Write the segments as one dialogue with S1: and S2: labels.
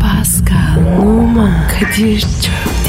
S1: Pascal, Oman, Kadir çok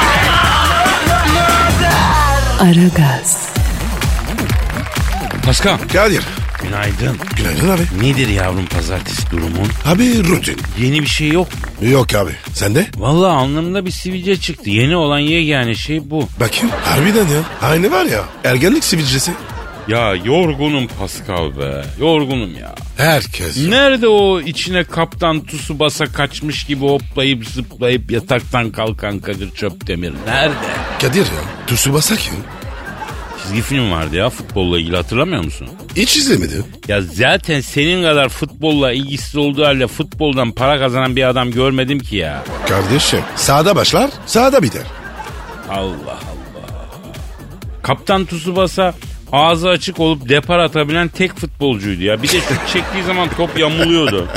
S1: Aragaz,
S2: Paskal.
S3: Kadir.
S2: Günaydın.
S3: Günaydın abi.
S2: Nedir yavrum pazartesi durumun?
S3: Abi rutin.
S2: Yeni bir şey yok. mu?
S3: Yok abi. Sen de?
S2: Vallahi alnımda bir sivilce çıktı. Yeni olan yegane şey bu.
S3: Bakayım. Harbiden ya. Aynı var ya. Ergenlik sivilcesi.
S2: Ya yorgunum Pascal be. Yorgunum ya.
S3: Herkes.
S2: Nerede o içine kaptan tusu basa kaçmış gibi hoplayıp zıplayıp yataktan kalkan Kadir Çöptemir? Nerede?
S3: Kadir ya. Tusu basak ya.
S2: Çizgi film vardı ya futbolla ilgili hatırlamıyor musun?
S3: Hiç izlemedim.
S2: Ya zaten senin kadar futbolla ilgisiz olduğu halde futboldan para kazanan bir adam görmedim ki ya.
S3: Kardeşim. Sağda başlar. Sağda biter.
S2: Allah Allah. Kaptan Tsubasa ağzı açık olup depar atabilen tek futbolcuydu ya. Bir de şut çektiği zaman top yamuluyordu.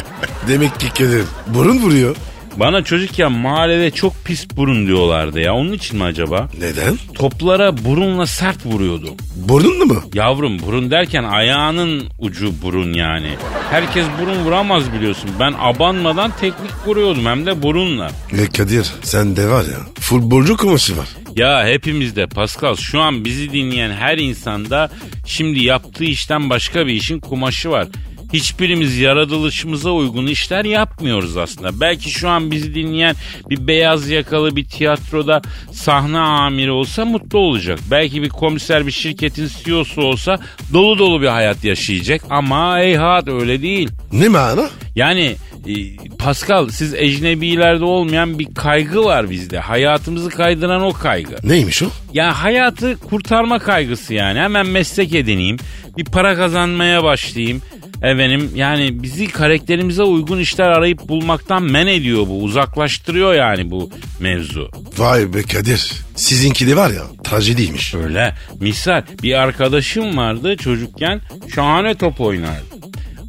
S3: Demek ki Kadir. Burun vuruyor.
S2: Bana çocukken mahallede çok pis burun diyorlardı ya. Onun için mi acaba?
S3: Neden?
S2: Toplara burunla sert vuruyordum.
S3: Burnun mu?
S2: Yavrum burun derken ayağının ucu burun yani. Herkes burun vuramaz biliyorsun. Ben abanmadan teknik vuruyordum hem de burunla.
S3: E Kadir. Sende var ya. Futbolcu kumaşı var.
S2: Ya hepimizde Pascal şu an bizi dinleyen her insanda şimdi yaptığı işten başka bir işin kumaşı var. Hiçbirimiz yaratılışımıza uygun işler yapmıyoruz aslında. Belki şu an bizi dinleyen bir beyaz yakalı bir tiyatroda sahne amiri olsa mutlu olacak. Belki bir komiser bir şirketin CEO'su olsa dolu dolu bir hayat yaşayacak. Ama heyhat öyle değil.
S3: Ne mana?
S2: Yani e, Pascal siz ecnebilerde olmayan bir kaygı var bizde. Hayatımızı kaydıran o kaygı.
S3: Neymiş o?
S2: Ya hayatı kurtarma kaygısı yani. Hemen meslek edineyim. Bir para kazanmaya başlayayım. Efendim yani bizi karakterimize uygun işler arayıp bulmaktan men ediyor bu. Uzaklaştırıyor yani bu mevzu.
S3: Vay be Kadir. Sizinki de var ya. Trajediymiş.
S2: Öyle. Misal bir arkadaşım vardı çocukken şahane top oynardı.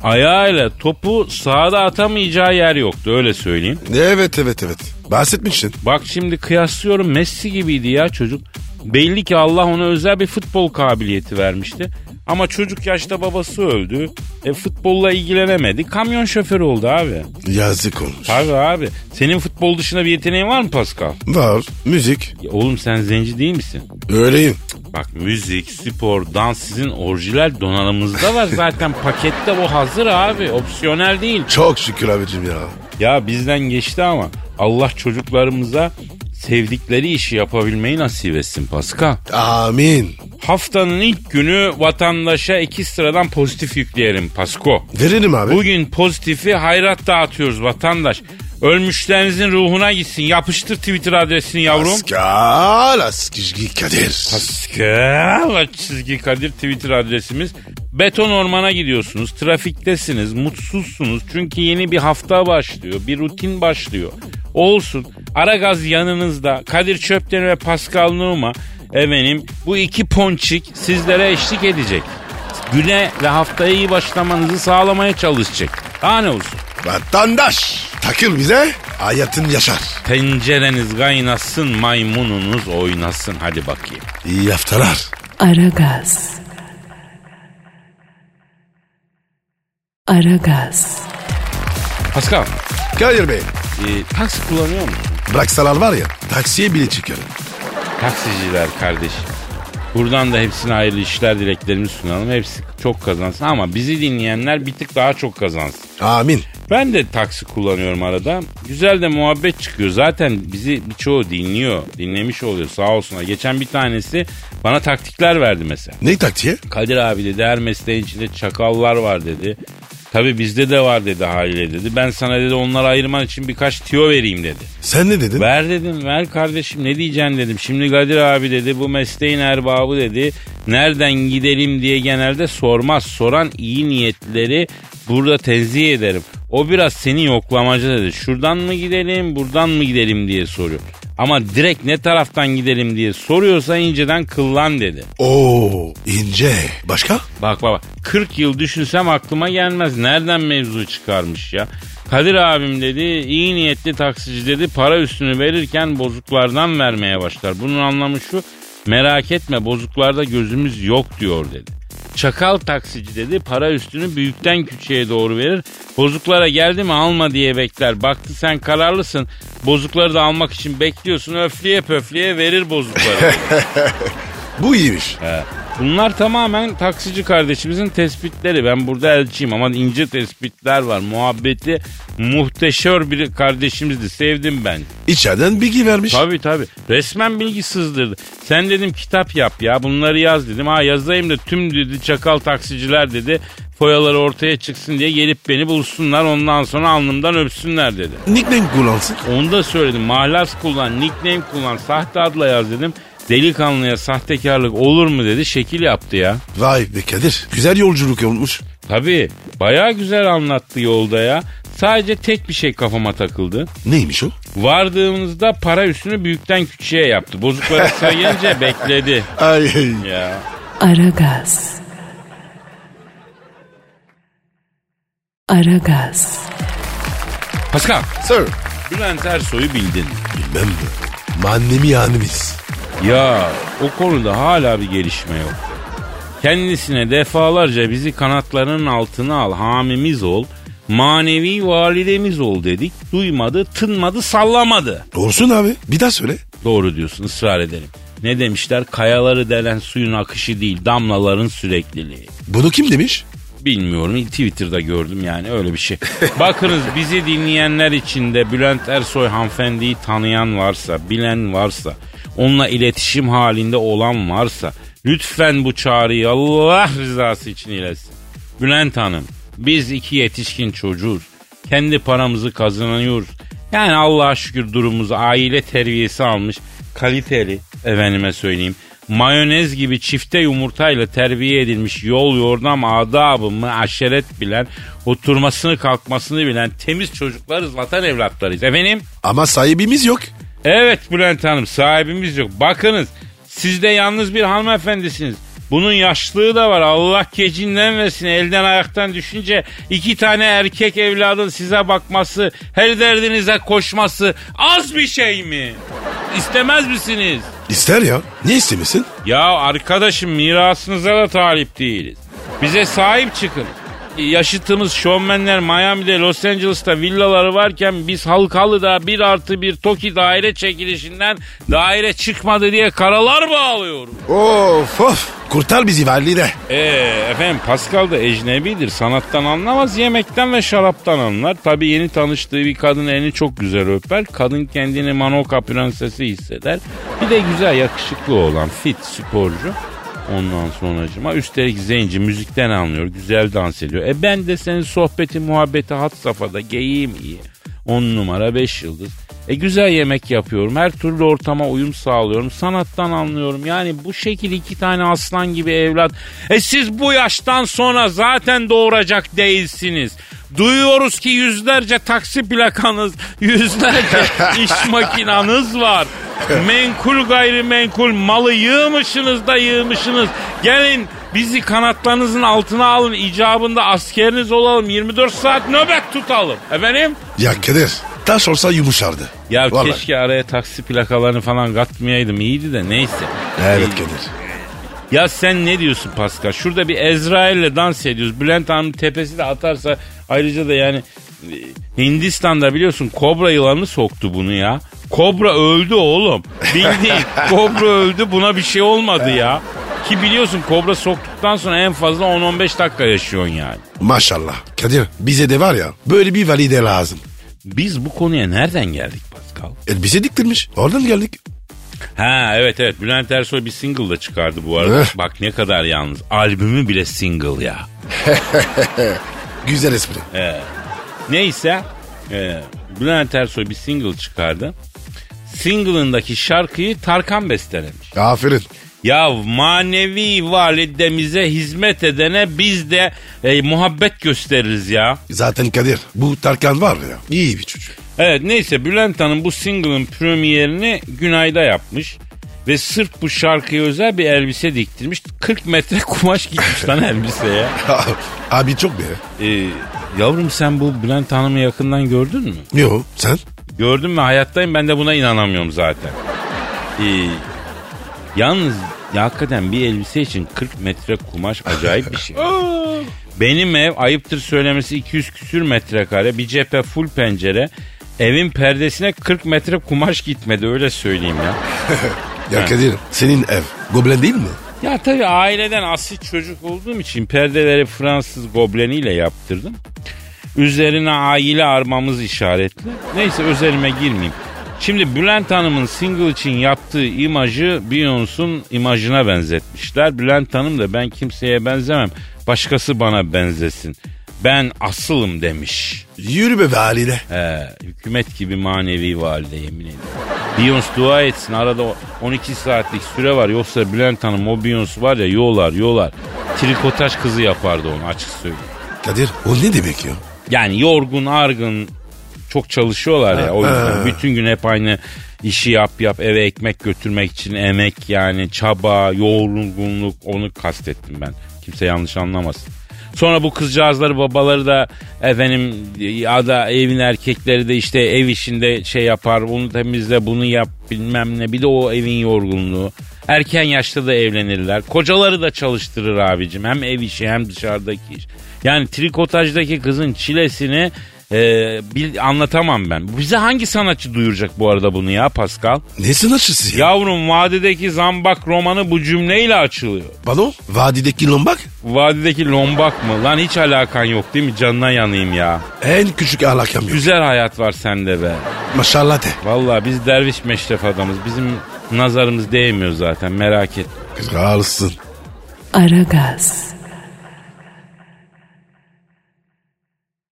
S2: Ayağıyla topu sahada atamayacağı yer yoktu öyle söyleyeyim.
S3: Evet evet evet. Bahsetmiştin.
S2: Bak şimdi kıyaslıyorum Messi gibiydi ya çocuk. Belli ki Allah ona özel bir futbol kabiliyeti vermişti. Ama çocuk yaşta babası öldü. E, futbolla ilgilenemedi. Kamyon şoförü oldu abi.
S3: Yazık olmuş.
S2: Tabii abi. Senin futbol dışında bir yeteneğin var mı Pascal?
S3: Var. Müzik.
S2: Ya oğlum sen zenci değil misin?
S3: Öyleyim.
S2: Bak müzik, spor, dans sizin orijinal donanımınızda var zaten. Pakette bu hazır abi. Opsiyonel değil.
S3: Çok şükür abicim ya.
S2: Ya bizden geçti ama Allah çocuklarımıza sevdikleri işi yapabilmeyi nasip etsin Pascal.
S3: Amin.
S2: Haftanın ilk günü vatandaşa iki sıradan pozitif yükleyelim Pasko.
S3: Veririm abi.
S2: Bugün pozitifi hayrat dağıtıyoruz vatandaş. Ölmüşlerinizin ruhuna gitsin. Yapıştır Twitter adresini yavrum.
S3: Pascal Askizgi Kadir.
S2: Pascal çizgi Kadir Twitter adresimiz. Beton ormana gidiyorsunuz, trafiktesiniz, mutsuzsunuz. Çünkü yeni bir hafta başlıyor, bir rutin başlıyor. Olsun, Aragaz yanınızda, Kadir Çöpten ve Pascal Numa, efendim bu iki ponçik sizlere eşlik edecek. Güne ve haftaya iyi başlamanızı sağlamaya çalışacak. Daha ne olsun?
S3: Vatandaş. Takıl bize. Hayatın yaşar.
S2: Tencereniz kaynasın, maymununuz oynasın. Hadi bakayım.
S3: İyi haftalar.
S1: Aragaz. Aragaz,
S2: Pascal,
S3: Kadir Bey.
S2: e, taksi kullanıyor musun?
S3: Bıraksalar var ya taksiye bile çıkarım.
S2: Taksiciler kardeşim. Buradan da hepsine hayırlı işler dileklerimi sunalım. Hepsi çok kazansın ama bizi dinleyenler bir tık daha çok kazansın.
S3: Amin.
S2: Ben de taksi kullanıyorum arada. Güzel de muhabbet çıkıyor. Zaten bizi birçoğu dinliyor. Dinlemiş oluyor sağ olsunlar. Geçen bir tanesi bana taktikler verdi mesela.
S3: Ne taktiği?
S2: Kadir abi dedi her mesleğin içinde çakallar var dedi. Tabi bizde de var dedi haliyle dedi. Ben sana dedi onları ayırman için birkaç tiyo vereyim dedi.
S3: Sen ne dedin?
S2: Ver dedim ver kardeşim ne diyeceksin dedim. Şimdi Kadir abi dedi bu mesleğin erbabı dedi. Nereden gidelim diye genelde sormaz. Soran iyi niyetleri burada tenzih ederim. O biraz seni yoklamacı dedi. Şuradan mı gidelim buradan mı gidelim diye soruyor. Ama direkt ne taraftan gidelim diye soruyorsa inceden kıllan dedi.
S3: Oo ince. Başka?
S2: Bak baba 40 yıl düşünsem aklıma gelmez. Nereden mevzu çıkarmış ya? Kadir abim dedi iyi niyetli taksici dedi para üstünü verirken bozuklardan vermeye başlar. Bunun anlamı şu merak etme bozuklarda gözümüz yok diyor dedi. Çakal taksici dedi para üstünü büyükten küçüğe doğru verir. Bozuklara geldi mi alma diye bekler. Baktı sen kararlısın bozukları da almak için bekliyorsun öfleye pöfleye verir bozukları.
S3: Bu iyiymiş.
S2: Bunlar tamamen taksici kardeşimizin tespitleri. Ben burada elçiyim ama ince tespitler var. Muhabbeti muhteşem bir kardeşimizdi. Sevdim ben.
S3: İçeriden bilgi vermiş.
S2: Tabii tabii. Resmen bilgi sızdırdı. Sen dedim kitap yap ya bunları yaz dedim. Ha yazayım da tüm dedi çakal taksiciler dedi. Foyaları ortaya çıksın diye gelip beni bulsunlar ondan sonra alnımdan öpsünler dedi.
S3: Nickname kullansın.
S2: Onu da söyledim. Mahlas kullan, nickname kullan, sahte adla yaz dedim. Delikanlıya sahtekarlık olur mu dedi. Şekil yaptı ya.
S3: Vay be Kadir. Güzel yolculuk olmuş.
S2: Tabii bayağı güzel anlattı yolda ya. Sadece tek bir şey kafama takıldı.
S3: Neymiş o?
S2: Vardığımızda para üstünü büyükten küçüğe yaptı. Bozukları sayınca bekledi.
S3: Ay.
S2: Ya.
S1: Aragaz. Aragaz.
S2: Pascal,
S3: Sir.
S2: Bülent Ersoy'u bildin.
S3: Bilmem mi? Manemi yanımız.
S2: Ya o konuda hala bir gelişme yok. Kendisine defalarca bizi kanatlarının altına al, hamimiz ol, manevi validemiz ol dedik. Duymadı, tınmadı, sallamadı.
S3: Olsun abi. Bir daha söyle.
S2: Doğru diyorsun ısrar edelim. Ne demişler? Kayaları delen suyun akışı değil, damlaların sürekliliği.
S3: Bunu kim demiş?
S2: Bilmiyorum Twitter'da gördüm yani öyle bir şey. Bakınız bizi dinleyenler içinde Bülent Ersoy hanımefendiyi tanıyan varsa, bilen varsa, onunla iletişim halinde olan varsa lütfen bu çağrıyı Allah rızası için iletsin. Bülent Hanım biz iki yetişkin çocuğuz. Kendi paramızı kazanıyoruz. Yani Allah'a şükür durumumuz aile terbiyesi almış kaliteli efendime söyleyeyim mayonez gibi çifte yumurtayla terbiye edilmiş yol yordam adabımı aşeret bilen, oturmasını kalkmasını bilen temiz çocuklarız, vatan evlatlarıyız. Efendim?
S3: Ama sahibimiz yok.
S2: Evet Bülent Hanım sahibimiz yok. Bakınız siz de yalnız bir hanımefendisiniz. Bunun yaşlılığı da var. Allah gecinden versin. Elden ayaktan düşünce iki tane erkek evladın size bakması, her derdinize koşması az bir şey mi? İstemez misiniz?
S3: İster ya. Ne istemesin?
S2: Ya arkadaşım mirasınıza da talip değiliz. Bize sahip çıkın. E, Yaşıtımız şovmenler Miami'de Los Angeles'ta villaları varken biz Halkalı'da bir artı bir TOKİ daire çekilişinden daire çıkmadı diye karalar bağlıyoruz.
S3: Of of. Kurtar bizi valide.
S2: Ee, efendim Pascal da ecnebidir. Sanattan anlamaz, yemekten ve şaraptan anlar. Tabii yeni tanıştığı bir kadın elini çok güzel öper. Kadın kendini Manoka prensesi hisseder. Bir de güzel, yakışıklı olan fit sporcu. Ondan sonracıma üstelik zenci müzikten anlıyor, güzel dans ediyor. E ben de senin sohbeti muhabbeti hat safhada geyiğim iyi. On numara beş yıldız. E güzel yemek yapıyorum. Her türlü ortama uyum sağlıyorum. Sanattan anlıyorum. Yani bu şekil iki tane aslan gibi evlat. E siz bu yaştan sonra zaten doğuracak değilsiniz. Duyuyoruz ki yüzlerce taksi plakanız, yüzlerce iş makinanız var. Menkul gayrimenkul malı yığmışsınız da yığmışsınız. Gelin bizi kanatlarınızın altına alın. icabında askeriniz olalım. 24 saat nöbet tutalım. Efendim?
S3: Ya Kadir. Taş olsa yumuşardı.
S2: Ya
S3: Vallahi.
S2: keşke araya taksi plakalarını falan katmayaydım iyiydi de neyse.
S3: Evet Kadir.
S2: Ya sen ne diyorsun Pascal? Şurada bir Ezrail'le dans ediyoruz. Bülent Hanım tepesi de atarsa ayrıca da yani e, Hindistan'da biliyorsun kobra yılanı soktu bunu ya. Kobra öldü oğlum. Bildiğin kobra öldü buna bir şey olmadı ya. Ki biliyorsun kobra soktuktan sonra en fazla 10-15 dakika yaşıyorsun yani.
S3: Maşallah. Kadir bize de var ya böyle bir valide lazım.
S2: Biz bu konuya nereden geldik Pascal?
S3: Elbise diktirmiş. Oradan geldik.
S2: Ha evet evet Bülent Ersoy bir single da çıkardı bu arada.
S3: Eh.
S2: Bak ne kadar yalnız. Albümü bile single ya.
S3: Güzel espri.
S2: Neyse e, Bülent Ersoy bir single çıkardı. Single'ındaki şarkıyı Tarkan bestelemiş.
S3: Aferin.
S2: Ya manevi validemize hizmet edene biz de e, muhabbet gösteririz ya.
S3: Zaten Kadir bu Tarkan var ya iyi bir çocuk.
S2: Evet neyse Bülent Hanım bu single'ın premierini Günay'da yapmış. Ve sırf bu şarkıya özel bir elbise diktirmiş. 40 metre kumaş gitmiş lan elbiseye.
S3: Abi çok be.
S2: Ee, yavrum sen bu Bülent Hanım'ı yakından gördün mü?
S3: Yo sen?
S2: Gördüm ve hayattayım ben de buna inanamıyorum zaten. Ee, yalnız ya hakikaten bir elbise için 40 metre kumaş acayip bir şey. Benim ev ayıptır söylemesi 200 küsür metrekare bir cephe full pencere. Evin perdesine 40 metre kumaş gitmedi öyle söyleyeyim ya.
S3: Ya Kadir senin ev goblen değil mi?
S2: Ya tabii aileden asil çocuk olduğum için perdeleri Fransız gobleniyle yaptırdım. Üzerine aile armamız işaretli. Neyse özelime girmeyeyim. Şimdi Bülent Hanım'ın single için yaptığı imajı Beyoncé'un imajına benzetmişler. Bülent Hanım da ben kimseye benzemem. Başkası bana benzesin. Ben asılım demiş.
S3: Yürü be valide.
S2: He, hükümet gibi manevi valide yemin ederim. Beyoncé dua etsin arada o- 12 saatlik süre var yoksa Bülent Hanım o Beyoncé var ya yolar yolar. Trikotaj kızı yapardı onu açık söyleyeyim.
S3: Kadir o ne demek ya?
S2: Yani yorgun argın çok çalışıyorlar ya o yüzden bütün gün hep aynı işi yap yap eve ekmek götürmek için emek yani çaba yorgunluk onu kastettim ben kimse yanlış anlamasın. Sonra bu kızcağızları babaları da efendim ya da evin erkekleri de işte ev işinde şey yapar bunu temizle bunu yap bilmem ne bir de o evin yorgunluğu. Erken yaşta da evlenirler. Kocaları da çalıştırır abicim. Hem ev işi hem dışarıdaki iş. Yani trikotajdaki kızın çilesini e, bil, anlatamam ben. Bize hangi sanatçı duyuracak bu arada bunu ya Pascal?
S3: Ne sınırsız ya?
S2: Yavrum vadideki zambak romanı bu cümleyle açılıyor.
S3: Pardon? Vadideki lombak
S2: Vadideki lombak mı? Lan hiç alakan yok değil mi? Canına yanayım ya.
S3: en küçük alakam yok.
S2: Güzel hayat var sende be.
S3: Maşallah de.
S2: Vallahi biz derviş meşref adamız. Bizim nazarımız değmiyor zaten merak et.
S3: Kralsın.
S1: Aragaz.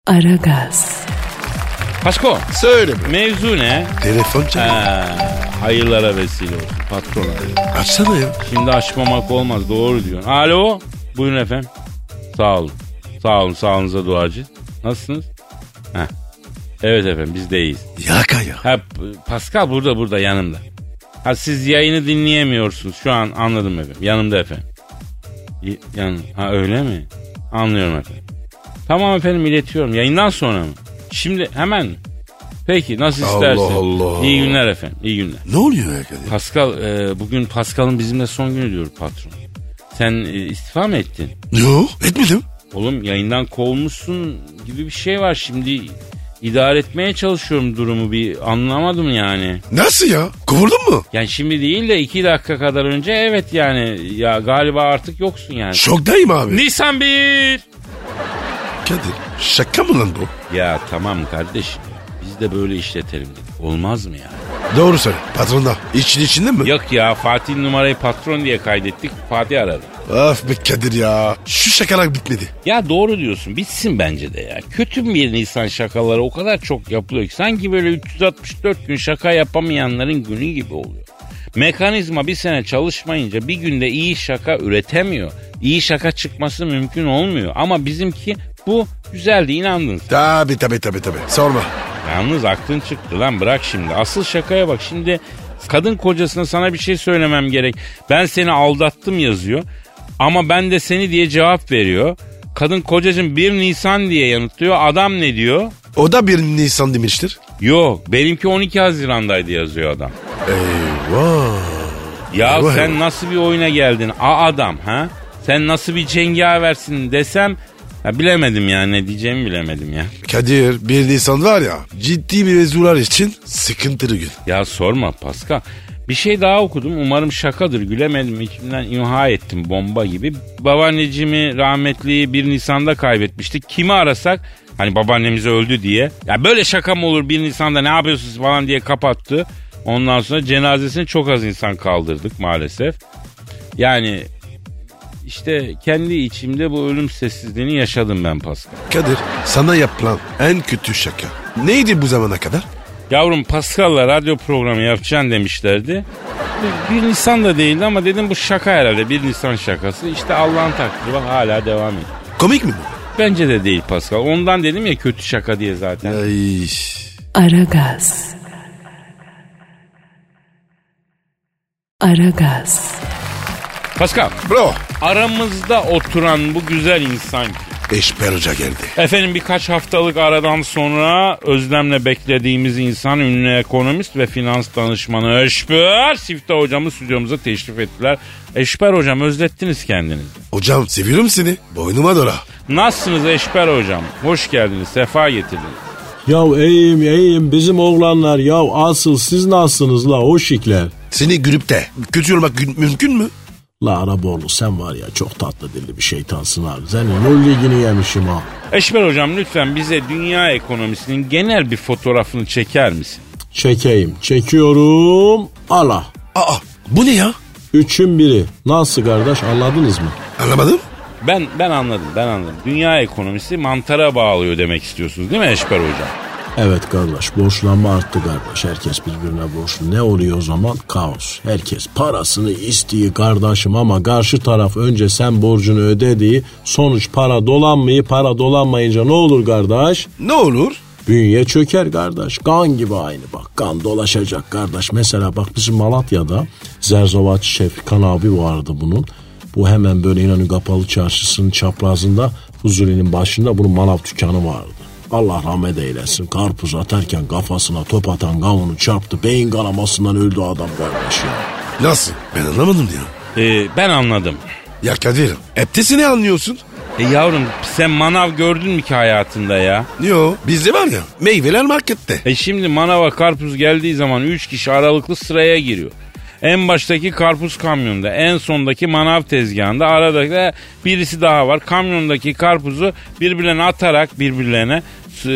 S1: Aragaz.
S2: Pasko
S3: Söyle be.
S2: mevzu ne?
S3: Telefon çalıyor.
S2: Ha, hayırlara vesile olsun patron.
S3: Açsana ya.
S2: Şimdi açmamak olmaz doğru diyorsun. Alo buyurun efendim. Sağ olun. Sağ olun sağlığınıza duacı. Nasılsınız? Heh. Evet efendim biz de iyiyiz.
S3: Yaka ya.
S2: Ha P- Pascal burada burada yanımda. Ha siz yayını dinleyemiyorsunuz şu an anladım efendim. Yanımda efendim. Y- yan ha öyle mi? Anlıyorum efendim. Tamam efendim iletiyorum. Yayından sonra mı? Şimdi hemen mi? Peki nasıl
S3: Allah
S2: istersen.
S3: Allah.
S2: İyi günler efendim. İyi günler.
S3: Ne oluyor ya Kadir?
S2: Pascal e, bugün Pascal'ın bizimle son günü diyor patron. Sen e, istifa mı ettin?
S3: Yo etmedim.
S2: Oğlum yayından kovulmuşsun gibi bir şey var şimdi. İdare etmeye çalışıyorum durumu bir anlamadım yani.
S3: Nasıl ya? Kovuldun mu?
S2: Yani şimdi değil de iki dakika kadar önce evet yani ya galiba artık yoksun yani.
S3: Şoktayım abi.
S2: Nisan 1!
S3: Kadir şaka mı lan bu?
S2: Ya tamam kardeşim biz de böyle işletelim dedik. Olmaz mı yani?
S3: Doğru söyle. Patron da. İçin içinde mi?
S2: Yok ya Fatih numarayı patron diye kaydettik Fatih aradı.
S3: Of be Kadir ya. Şu şakalar bitmedi.
S2: Ya doğru diyorsun bitsin bence de ya. Kötü bir Nisan şakaları o kadar çok yapılıyor ki sanki böyle 364 gün şaka yapamayanların günü gibi oluyor. Mekanizma bir sene çalışmayınca bir günde iyi şaka üretemiyor. İyi şaka çıkması mümkün olmuyor ama bizimki bu güzeldi inandın. sen.
S3: Tabi tabi tabi tabi. Sorma.
S2: Yalnız aklın çıktı lan bırak şimdi asıl şakaya bak şimdi kadın kocasına sana bir şey söylemem gerek. Ben seni aldattım yazıyor ama ben de seni diye cevap veriyor. Kadın kocacığım 1 Nisan diye yanıtlıyor adam ne diyor?
S3: O da bir Nisan demiştir.
S2: Yok benimki 12 Haziran'daydı yazıyor adam.
S3: Eyvah.
S2: Ya
S3: Eyvah,
S2: sen
S3: eyvah.
S2: nasıl bir oyuna geldin a adam ha? Sen nasıl bir cengaversin desem ya bilemedim yani ne diyeceğimi bilemedim ya.
S3: Kadir bir Nisan var ya ciddi bir mevzular için sıkıntılı gün.
S2: Ya sorma Pascal. Bir şey daha okudum. Umarım şakadır. Gülemedim. içimden imha ettim bomba gibi. Babaanneciğimi rahmetli 1 Nisan'da kaybetmiştik. Kimi arasak hani babaannemiz öldü diye. Ya böyle şaka mı olur 1 Nisan'da ne yapıyorsunuz falan diye kapattı. Ondan sonra cenazesini çok az insan kaldırdık maalesef. Yani işte kendi içimde bu ölüm sessizliğini yaşadım ben Pascal.
S3: Kadir sana yapılan en kötü şaka neydi bu zamana kadar?
S2: Yavrum Pascal'la radyo programı yapacaksın demişlerdi. Bir- Bir Nisan da değildi ama dedim bu şaka herhalde. Bir Nisan şakası. İşte Allah'ın takdiri bak hala devam ediyor.
S3: Komik mi bu?
S2: Bence de değil Pascal. Ondan dedim ya kötü şaka diye zaten.
S3: Ay.
S1: Aragaz. Aragaz.
S2: Pascal
S3: Bro.
S2: aramızda oturan bu güzel insan ki,
S3: Eşber Hoca geldi.
S2: Efendim birkaç haftalık aradan sonra özlemle beklediğimiz insan ünlü ekonomist ve finans danışmanı Eşber Sifte hocamı stüdyomuza teşrif ettiler. Eşber hocam özlettiniz kendinizi.
S3: Hocam seviyorum seni. Boynuma dola.
S2: Nasılsınız Eşber hocam? Hoş geldiniz, sefa getirdiniz.
S4: Ya iyiyim iyiyim bizim oğlanlar ya asıl siz nasılsınız la o şikler.
S3: Seni grupte kötü yormak gün- mümkün mü?
S4: La Araboğlu sen var ya çok tatlı dilli bir şeytansın abi. Senin yol ligini yemişim ha.
S2: Eşber hocam lütfen bize dünya ekonomisinin genel bir fotoğrafını çeker misin?
S4: Çekeyim çekiyorum Allah.
S3: Aa bu ne ya?
S4: Üçün biri. Nasıl kardeş anladınız mı?
S3: Anlamadım.
S2: Ben ben anladım, ben anladım. Dünya ekonomisi mantara bağlıyor demek istiyorsunuz değil mi Eşber hocam?
S4: Evet kardeş borçlanma arttı kardeş. Herkes birbirine borçlu. Ne oluyor o zaman? Kaos. Herkes parasını istiyor kardeşim ama karşı taraf önce sen borcunu ödediği sonuç para dolanmayı para dolanmayınca ne olur kardeş?
S3: Ne olur?
S4: Bünye çöker kardeş. Kan gibi aynı bak. Kan dolaşacak kardeş. Mesela bak bizim Malatya'da Zerzovaç Şefkan abi vardı bunun. Bu hemen böyle İnönü Kapalı Çarşısı'nın çaprazında Huzuli'nin başında bunun manav dükkanı vardı. Allah rahmet eylesin. Karpuz atarken kafasına top atan gavunu çarptı. Beyin kanamasından öldü adam kardeş ya.
S3: Nasıl? Ben anlamadım ya.
S2: Ee, ben anladım.
S3: Ya Kadir. Heptesi ne anlıyorsun?
S2: E yavrum sen manav gördün mü ki hayatında ya?
S3: Yo bizde var ya meyveler markette.
S2: E şimdi manava karpuz geldiği zaman 3 kişi aralıklı sıraya giriyor. En baştaki karpuz kamyonda, en sondaki manav tezgahında, arada da birisi daha var. Kamyondaki karpuzu birbirlerine atarak birbirlerine s-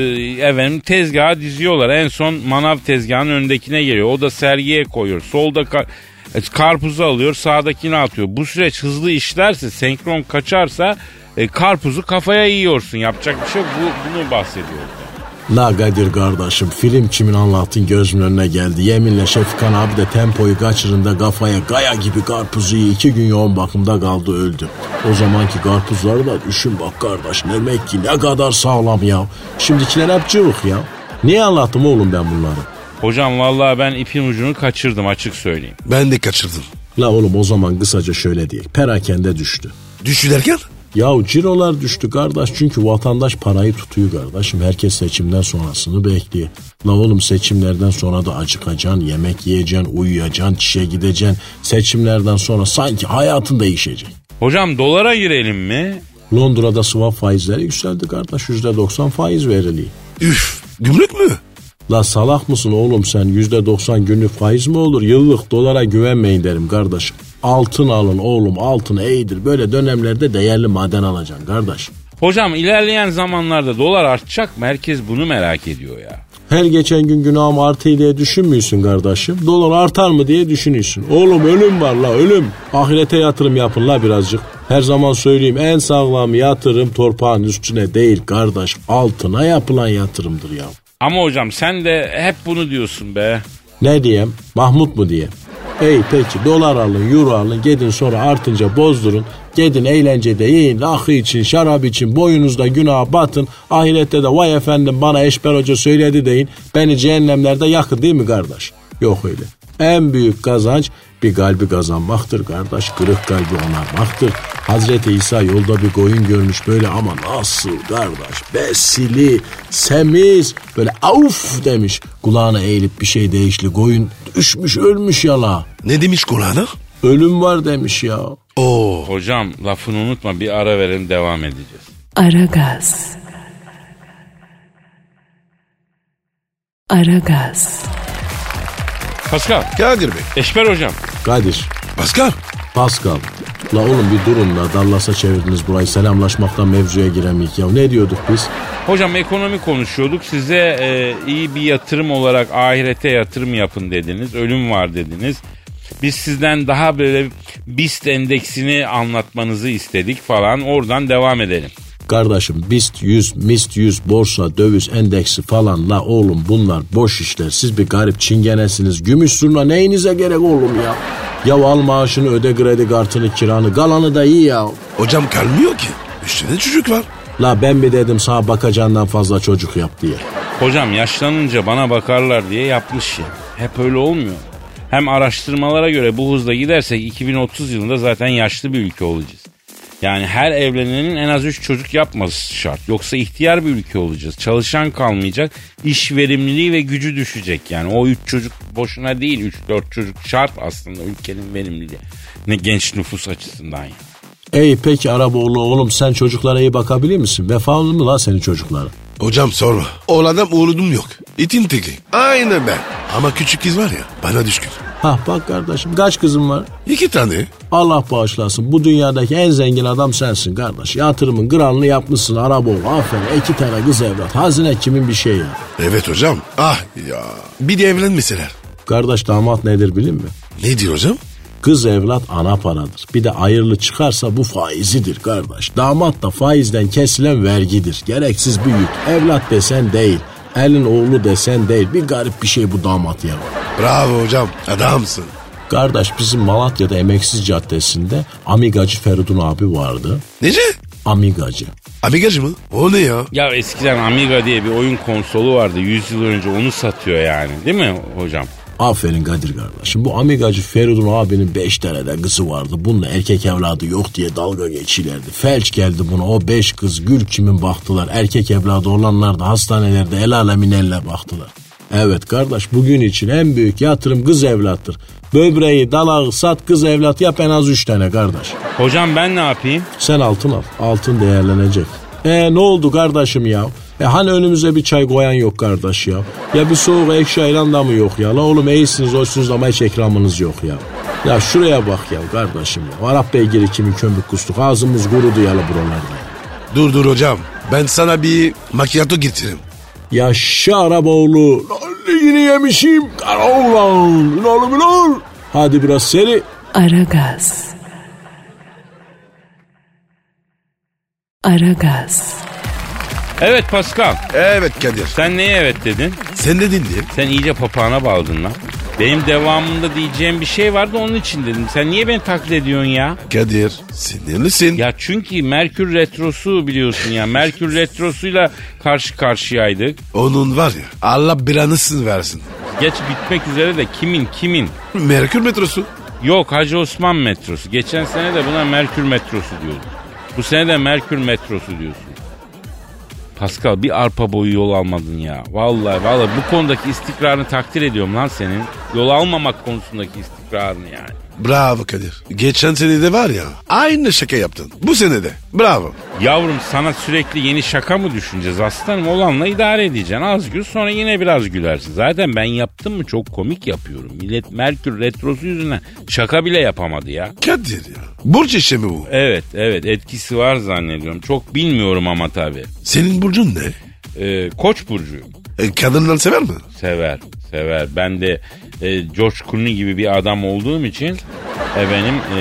S2: efendim tezgaha diziyorlar. En son manav tezgahının öndekine geliyor. O da sergiye koyuyor. Solda ka- e, karpuzu alıyor, sağdakini atıyor. Bu süreç hızlı işlerse, senkron kaçarsa e, karpuzu kafaya yiyorsun. Yapacak bir şey yok. Bu, bunu bahsediyorum.
S4: La Kadir kardeşim film kimin anlattın gözümün önüne geldi. Yeminle Şefkan abi de tempoyu kaçırında kafaya gaya gibi karpuzu yiyor. iki gün yoğun bakımda kaldı öldü. O zamanki karpuzları da düşün bak kardeş demek ki ne kadar sağlam ya. Şimdikiler hep cıvık ya. Niye anlattım oğlum ben bunları?
S2: Hocam vallahi ben ipin ucunu kaçırdım açık söyleyeyim.
S3: Ben de kaçırdım.
S4: La oğlum o zaman kısaca şöyle diyeyim. Perakende düştü.
S3: Düşünerken
S4: Yahu cirolar düştü kardeş çünkü vatandaş parayı tutuyor kardeşim. Herkes seçimden sonrasını bekliyor. La oğlum seçimlerden sonra da acıkacaksın, yemek yiyeceksin, uyuyacaksın, çişe gideceksin. Seçimlerden sonra sanki hayatın değişecek.
S2: Hocam dolara girelim mi?
S4: Londra'da swap faizleri yükseldi kardeş. %90 faiz veriliyor.
S3: üf gümrük mü?
S4: La salak mısın oğlum sen? %90 günlük faiz mi olur? Yıllık dolara güvenmeyin derim kardeş. Altın alın oğlum altın iyidir. Böyle dönemlerde değerli maden alacaksın kardeş.
S2: Hocam ilerleyen zamanlarda dolar artacak mı? Herkes bunu merak ediyor ya.
S4: Her geçen gün günahım artıyor diye düşünmüyorsun kardeşim. Dolar artar mı diye düşünüyorsun. Oğlum ölüm var la ölüm. Ahirete yatırım yapın la birazcık. Her zaman söyleyeyim en sağlam yatırım torpağın üstüne değil kardeş. Altına yapılan yatırımdır ya.
S2: Ama hocam sen de hep bunu diyorsun be.
S4: Ne diyeyim? Mahmut mu diye? Ey peki dolar alın, euro alın, gidin sonra artınca bozdurun. Gidin eğlencede yiyin, rakı için, şarap için, boyunuzda günaha batın. Ahirette de vay efendim bana Eşber Hoca söyledi deyin. Beni cehennemlerde yakın değil mi kardeş? Yok öyle. En büyük kazanç bir kalbi kazanmaktır kardeş. Kırık kalbi onarmaktır. Hazreti İsa yolda bir koyun görmüş böyle ama nasıl kardeş? Besili, semiz, böyle avuf demiş. Kulağına eğilip bir şey değişli koyun düşmüş ölmüş yala.
S3: Ne demiş kulağına?
S4: Ölüm var demiş ya.
S3: Oo
S2: Hocam lafını unutma bir ara verelim devam edeceğiz.
S1: Aragaz. Aragaz.
S2: Pascal,
S3: Kadir Bey.
S2: Eşber hocam.
S4: Kadir,
S3: Pascal.
S4: Pascal. La oğlum bir durun la Dallas'a çevirdiniz burayı selamlaşmaktan mevzuya giremeyik ya. Ne diyorduk biz?
S2: Hocam ekonomi konuşuyorduk. Size e, iyi bir yatırım olarak ahirete yatırım yapın dediniz. Ölüm var dediniz. Biz sizden daha böyle BIST endeksini anlatmanızı istedik falan. Oradan devam edelim.
S4: Kardeşim BIST 100, MIST 100, borsa, döviz endeksi falan la oğlum bunlar boş işler. Siz bir garip çingenesiniz. Gümüş zurna neyinize gerek oğlum ya? Ya al maaşını öde kredi kartını kiranı galanı da iyi ya.
S3: Hocam kalmıyor ki. Üstüne çocuk var.
S4: La ben mi dedim sağ bakacağından fazla çocuk yap diye.
S2: Hocam yaşlanınca bana bakarlar diye yapmış ya. Hep öyle olmuyor. Hem araştırmalara göre bu hızla gidersek 2030 yılında zaten yaşlı bir ülke olacağız. Yani her evlenenin en az 3 çocuk yapması şart. Yoksa ihtiyar bir ülke olacağız. Çalışan kalmayacak. İş verimliliği ve gücü düşecek. Yani o 3 çocuk boşuna değil 3-4 çocuk şart aslında ülkenin verimliliği. Ne genç nüfus açısından ya.
S4: Ey peki Araboğlu oğlum sen çocuklara iyi bakabilir misin? Vefalı mı lan senin çocukların?
S3: Hocam sorma. Oğlandan oğlum yok. İtin teki. Aynen ben. Ama küçük kız var ya bana düşkün.
S4: Hah bak kardeşim kaç kızım var?
S3: İki tane.
S4: Allah bağışlasın bu dünyadaki en zengin adam sensin kardeş. Yatırımın kralını yapmışsın Araboğlu aferin iki tane kız evlat. Hazine kimin bir şeyi ya.
S3: Evet hocam. Ah ya. Bir de evlenmeseler.
S4: Kardeş damat nedir bilin mi?
S3: Ne diyor hocam?
S4: Kız evlat ana paradır. Bir de ayırlı çıkarsa bu faizidir kardeş. Damat da faizden kesilen vergidir. Gereksiz bir yük. Evlat desen değil. Elin oğlu desen değil. Bir garip bir şey bu damat ya.
S3: Bravo hocam. Adamsın.
S4: Kardeş bizim Malatya'da Emeksiz Caddesi'nde Amigacı Feridun abi vardı.
S3: Nece?
S4: Amigacı.
S3: Amigacı mı? O ne ya?
S2: Ya eskiden Amiga diye bir oyun konsolu vardı. 100 yıl önce onu satıyor yani. Değil mi hocam?
S4: Aferin Kadir kardeşim. Bu amigacı Feridun abinin 5 tane de kızı vardı. Bununla erkek evladı yok diye dalga geçilerdi. Felç geldi buna. O 5 kız gül kimin baktılar. Erkek evladı olanlar da hastanelerde el alemin elle baktılar. Evet kardeş bugün için en büyük yatırım kız evlattır. Böbreği, dalağı sat kız evlat yap en az 3 tane kardeş.
S2: Hocam ben ne yapayım?
S4: Sen altın al. Altın değerlenecek. E ne oldu kardeşim ya? E hani önümüze bir çay koyan yok kardeş ya? Ya bir soğuk ekşi ayran da mı yok ya? La oğlum iyisiniz hoşsunuz ama hiç ekranınız yok ya. Ya şuraya bak ya kardeşim ya. Arap beygiri kimin kömür kustuk. Ağzımız kurudu yalı buralarda. ya.
S3: Dur dur hocam. Ben sana bir makiyato getiririm.
S4: Ya şu Arap oğlu. Lan yine yemişim. Ulan ulan ulan. Hadi biraz seri.
S1: Aragaz. Aragaz.
S2: Evet Pascal.
S3: Evet Kadir.
S2: Sen neye evet dedin?
S3: Sen de dinle.
S2: Sen iyice papağana bağladın lan. Benim devamında diyeceğim bir şey vardı onun için dedim. Sen niye beni taklit ediyorsun ya?
S3: Kadir sinirlisin.
S2: Ya çünkü Merkür Retrosu biliyorsun ya. Merkür Retrosu'yla karşı karşıyaydık.
S3: Onun var ya Allah bir anısını versin.
S2: Geç bitmek üzere de kimin kimin?
S3: Merkür metrosu.
S2: Yok Hacı Osman metrosu. Geçen sene de buna Merkür metrosu diyordun. Bu sene de Merkür metrosu diyorsun. Pascal bir arpa boyu yol almadın ya. Vallahi vallahi bu konudaki istikrarını takdir ediyorum lan senin. Yol almamak konusundaki istikrarını yani.
S3: Bravo Kadir. Geçen sene de var ya aynı şaka yaptın. Bu sene de. Bravo.
S2: Yavrum sana sürekli yeni şaka mı düşüneceğiz aslanım? Olanla idare edeceksin. Az gül sonra yine biraz gülersin. Zaten ben yaptım mı çok komik yapıyorum. Millet Merkür Retrosu yüzünden şaka bile yapamadı ya.
S3: Kadir ya. Burç işi mi bu?
S2: Evet evet etkisi var zannediyorum. Çok bilmiyorum ama tabii.
S3: Senin burcun ne?
S2: Ee, Koç burcuyum.
S3: E, kadınları sever mi?
S2: Sever, sever. Ben de e, George Clooney gibi bir adam olduğum için efendim e,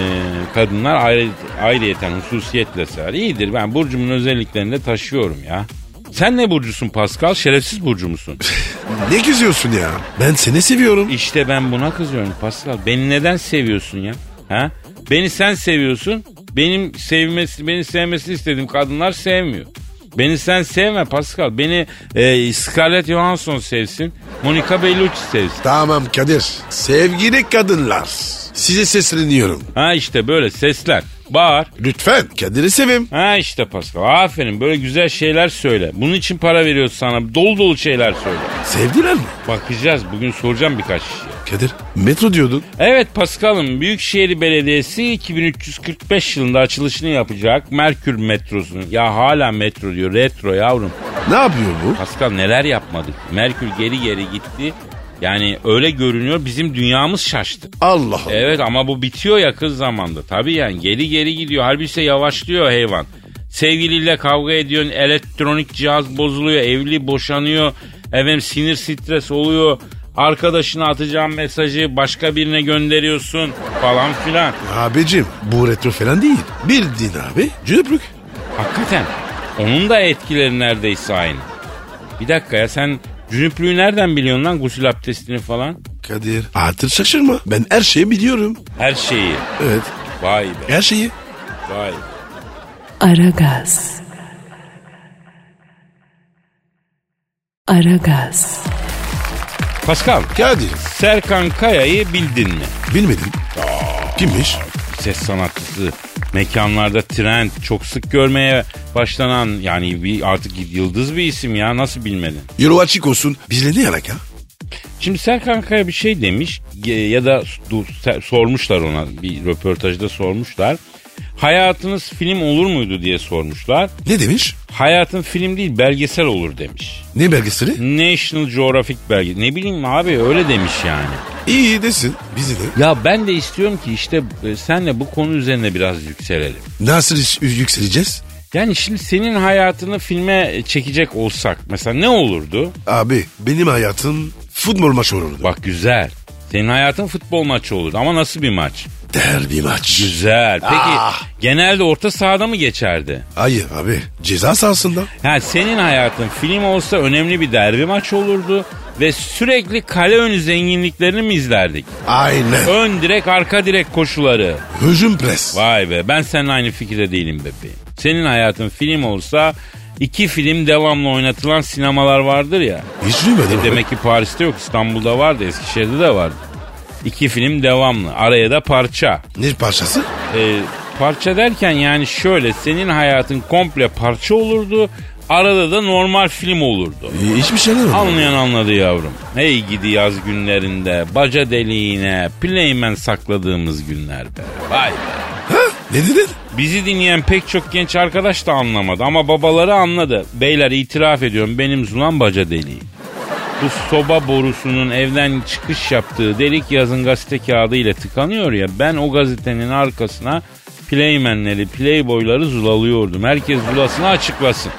S2: kadınlar ayrı, ayrıyeten hususiyetle sever. İyidir ben burcumun özelliklerini de taşıyorum ya. Sen ne burcusun Pascal? Şerefsiz burcu musun?
S3: Ne kızıyorsun ya? Ben seni seviyorum.
S2: işte ben buna kızıyorum Pascal. Beni neden seviyorsun ya? Ha? Beni sen seviyorsun. Benim sevmesi, beni sevmesini istediğim kadınlar sevmiyor. Beni sen sevme Pascal. Beni e, Scarlett Johansson sevsin. Monica Bellucci sevsin.
S3: Tamam Kadir. Sevgili kadınlar. Size sesleniyorum.
S2: Ha işte böyle sesler. Bağır.
S3: Lütfen Kadir'i sevim.
S2: Ha işte Pascal. Aferin böyle güzel şeyler söyle. Bunun için para veriyoruz sana. Dolu dolu şeyler söyle.
S3: Sevdiler mi?
S2: Bakacağız. Bugün soracağım birkaç şey. kişiye.
S3: Kadir metro diyordun.
S2: Evet Pascal'ım Büyükşehir Belediyesi 2345 yılında açılışını yapacak Merkür metrosunu. Ya hala metro diyor. Retro yavrum.
S3: Ne yapıyor bu?
S2: Pascal neler yapmadık. Merkür geri geri gitti. Yani öyle görünüyor bizim dünyamız şaştı.
S3: Allah Allah.
S2: Evet ama bu bitiyor yakın zamanda. Tabii yani geri geri gidiyor. Halbuki yavaşlıyor hayvan. Sevgiliyle kavga ediyorsun. Elektronik cihaz bozuluyor. Evli boşanıyor. Efendim sinir stres oluyor. Arkadaşına atacağın mesajı başka birine gönderiyorsun falan filan.
S3: Abicim bu retro falan değil. Bildiğin abi cüplük.
S2: Hakikaten onun da etkileri neredeyse aynı. Bir dakika ya sen cünüplüğü nereden biliyorsun lan gusül abdestini falan?
S3: Kadir artık şaşırma. Ben her şeyi biliyorum.
S2: Her şeyi.
S3: Evet
S2: Vay be
S3: her şeyi.
S2: vay be.
S1: Aragaz. Aragaz,
S2: Pascal,
S3: Kadir
S2: Serkan Kaya'yı bildin mi?
S3: bilmedim. Kimmiş?
S2: ses sanatçısı mekanlarda trend çok sık görmeye başlanan yani bir artık yıldız bir isim ya nasıl bilmedin?
S3: Yolu açık olsun. Bizle ne alaka?
S2: Şimdi Serkan Kaya bir şey demiş e, ya da du- se- sormuşlar ona bir röportajda sormuşlar. Hayatınız film olur muydu diye sormuşlar.
S3: Ne demiş?
S2: Hayatın film değil belgesel olur demiş.
S3: Ne belgeseli?
S2: National Geographic belge. Ne bileyim abi öyle demiş yani.
S3: İyi desin. Bizi de.
S2: Ya ben de istiyorum ki işte e, senle bu konu üzerine biraz yükselelim.
S3: Nasıl yü- yükseleceğiz?
S2: Yani şimdi senin hayatını filme çekecek olsak mesela ne olurdu?
S3: Abi benim hayatım futbol maçı olurdu.
S2: Bak güzel. Senin hayatın futbol maçı olurdu ama nasıl bir maç?
S3: Derbi maç.
S2: Güzel. Peki
S3: Ah.
S2: genelde orta sahada mı geçerdi?
S3: Hayır abi ceza sahasında.
S2: Ha senin hayatın film olsa önemli bir derbi maçı olurdu ve sürekli kale önü zenginliklerini mi izlerdik?
S3: Aynen.
S2: Ön direk arka direk koşuları.
S3: Hücum pres.
S2: Vay be ben seninle aynı fikirde değilim bebeğim. Senin hayatın film olsa iki film devamlı oynatılan sinemalar vardır ya.
S3: Hiç duymadım.
S2: E
S3: abi.
S2: demek ki Paris'te yok. İstanbul'da vardı. Eskişehir'de de vardı. İki film devamlı. Araya da parça.
S3: Ne parçası?
S2: E, parça derken yani şöyle senin hayatın komple parça olurdu. Arada da normal film olurdu.
S3: E, Hiçbir şeyler olmadı.
S2: Anlayan anladı yavrum. Hey gidi yaz günlerinde baca deliğine Playman sakladığımız günler be. Vay be.
S3: Ne dedin?
S2: Bizi dinleyen pek çok genç arkadaş da anlamadı ama babaları anladı. Beyler itiraf ediyorum benim Zulan baca deliği. Bu soba borusunun evden çıkış yaptığı delik yazın gazete kağıdı ile tıkanıyor ya ben o gazetenin arkasına playmenleri, playboyları zulalıyordum. Herkes zulasını açıklasın.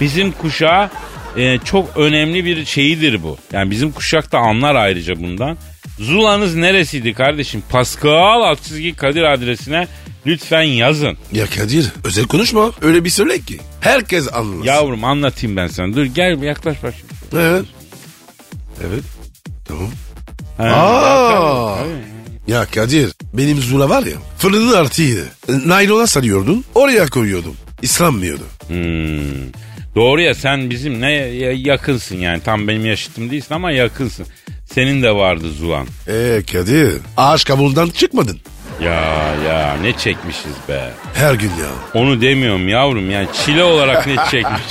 S2: Bizim kuşağa e, çok önemli bir şeyidir bu. Yani bizim kuşak da anlar ayrıca bundan. Zulanız neresiydi kardeşim? Pascal alt çizgi Kadir adresine lütfen yazın.
S3: Ya Kadir özel konuşma. Öyle bir söyle ki. Herkes anlasın.
S2: Yavrum anlatayım ben sana. Dur gel yaklaş bak. şimdi.
S3: Evet. Evet. Tamam.
S2: Ha,
S3: Aa! Ya Kadir benim Zula var ya fırının artıydı. Naylona sarıyordun oraya koyuyordum. İslanmıyordu.
S2: Hmm. Doğru ya sen bizim ne ya- yakınsın yani. Tam benim yaşıtım değilsin ama yakınsın. Senin de vardı Zulan.
S3: Ee Kadir ağaç kabuğundan çıkmadın.
S2: Ya ya ne çekmişiz be.
S3: Her gün ya.
S2: Onu demiyorum yavrum yani çile olarak ne çekmiş.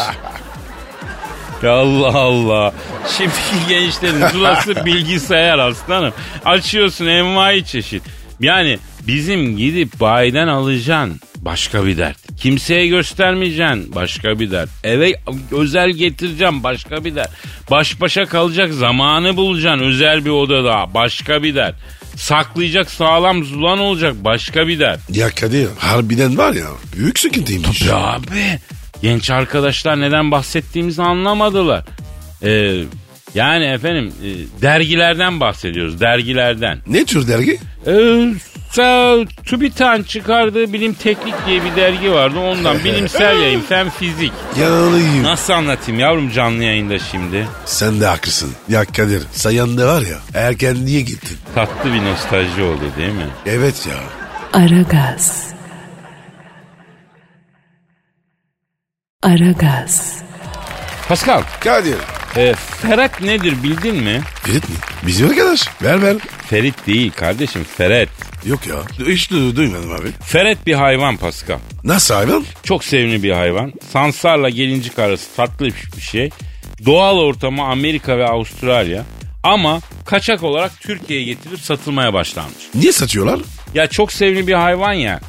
S2: Ya Allah Allah. Şimdiki gençlerin zulası bilgisayar aslanım. Açıyorsun envai çeşit. Yani bizim gidip bayiden alacaksın başka bir dert. Kimseye göstermeyeceksin başka bir dert. Eve özel getireceğim başka bir dert. Baş başa kalacak zamanı bulacaksın özel bir odada başka bir dert. Saklayacak sağlam zulan olacak başka bir dert.
S3: Ya Kadir harbiden var ya büyük sıkıntıymış.
S2: Ya abi genç arkadaşlar neden bahsettiğimizi anlamadılar. Ee, yani efendim e, dergilerden bahsediyoruz dergilerden.
S3: Ne tür dergi?
S2: Ee, sa- TÜBİTAK'ın çıkardığı Bilim Teknik diye bir dergi vardı ondan bilimsel yayın fen fizik.
S3: Yanılıyım.
S2: Nasıl anlatayım yavrum canlı yayında şimdi?
S3: Sen de haklısın. Ya Kadir sayan da var ya erken niye gittin?
S2: Tatlı bir nostalji oldu değil mi?
S3: Evet ya.
S1: Aragaz. Aragaz,
S2: Pascal,
S3: Kadir.
S2: e, Ferhat nedir bildin mi?
S3: Ferit mi? Bizim arkadaş. Ver ver.
S2: Ferit değil kardeşim Ferhat.
S3: Yok ya. Hiç du- duymadım abi.
S2: Ferhat bir hayvan Pascal.
S3: Nasıl hayvan?
S2: Çok sevimli bir hayvan. Sansarla gelincik arası tatlı bir şey. Doğal ortamı Amerika ve Avustralya. Ama kaçak olarak Türkiye'ye getirilip satılmaya başlanmış.
S3: Niye satıyorlar?
S2: Ya çok sevimli bir hayvan ya.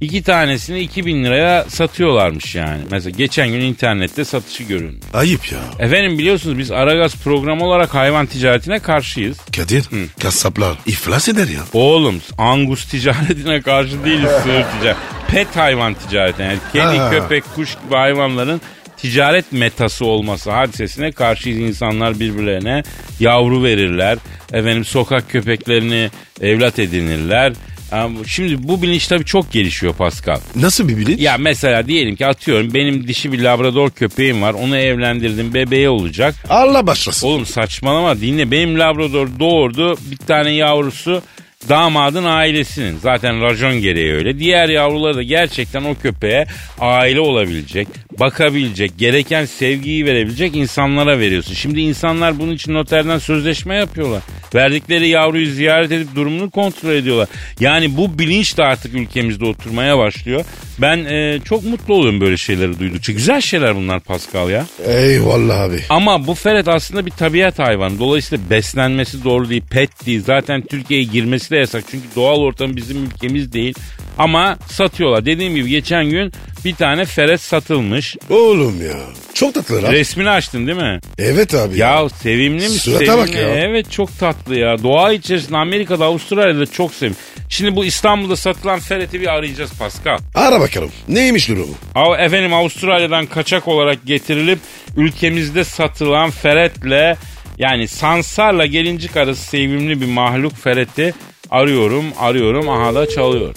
S2: İki tanesini 2000 liraya satıyorlarmış yani. Mesela geçen gün internette satışı görülmüş.
S3: Ayıp ya.
S2: Efendim biliyorsunuz biz Aragaz programı olarak hayvan ticaretine karşıyız.
S3: Kadir. Kasaplar iflas eder ya.
S2: Oğlum angus ticaretine karşı değiliz sığır ticaret. Pet hayvan ticareti yani kedi,
S3: Ha.
S2: köpek, kuş gibi hayvanların ticaret metası olması hadisesine karşıyız insanlar birbirlerine yavru verirler. Efendim sokak köpeklerini evlat edinirler. Yani Şimdi bu bilinç tabii çok gelişiyor Pascal.
S3: Nasıl bir bilinç?
S2: Ya mesela diyelim ki atıyorum benim dişi bir labrador köpeğim var. Onu evlendirdim bebeği olacak.
S3: Allah başlasın.
S2: Oğlum saçmalama dinle. Benim Labrador doğurdu. Bir tane yavrusu damadın ailesinin. Zaten racon gereği öyle. Diğer yavruları da gerçekten o köpeğe aile olabilecek. bakabilecek, gereken sevgiyi verebilecek insanlara veriyorsun. Şimdi insanlar bunun için noterden sözleşme yapıyorlar. Verdikleri yavruyu ziyaret edip durumunu kontrol ediyorlar. Yani bu bilinç de artık ülkemizde oturmaya başlıyor. Ben e, çok mutlu oluyorum böyle şeyleri duydukça. Güzel şeyler bunlar Pascal ya.
S3: Eyvallah abi.
S2: Ama bu ferret aslında bir tabiat hayvanı. Dolayısıyla beslenmesi doğru değil, pet değil. Zaten Türkiye'ye girmesi de yasak. Çünkü doğal ortam bizim ülkemiz değil. Ama satıyorlar. Dediğim gibi geçen gün bir tane ferret satılmış.
S3: Oğlum ya. Çok tatlı lan.
S2: Resmini açtın değil mi?
S3: evet abi.
S2: Ya sevimli mi?
S3: Surata
S2: sevimli.
S3: bak ya.
S2: Evet çok tatlı ya. Doğa içerisinde Amerika'da, Avustralya'da çok sevimli. Şimdi bu İstanbul'da satılan ferreti bir arayacağız Pascal.
S3: Ara bakalım. Neymiş durumu?
S2: Av- Efendim Avustralya'dan kaçak olarak getirilip ülkemizde satılan feretle yani sansarla gelincik arası sevimli bir mahluk fereti arıyorum arıyorum aha da çalıyor.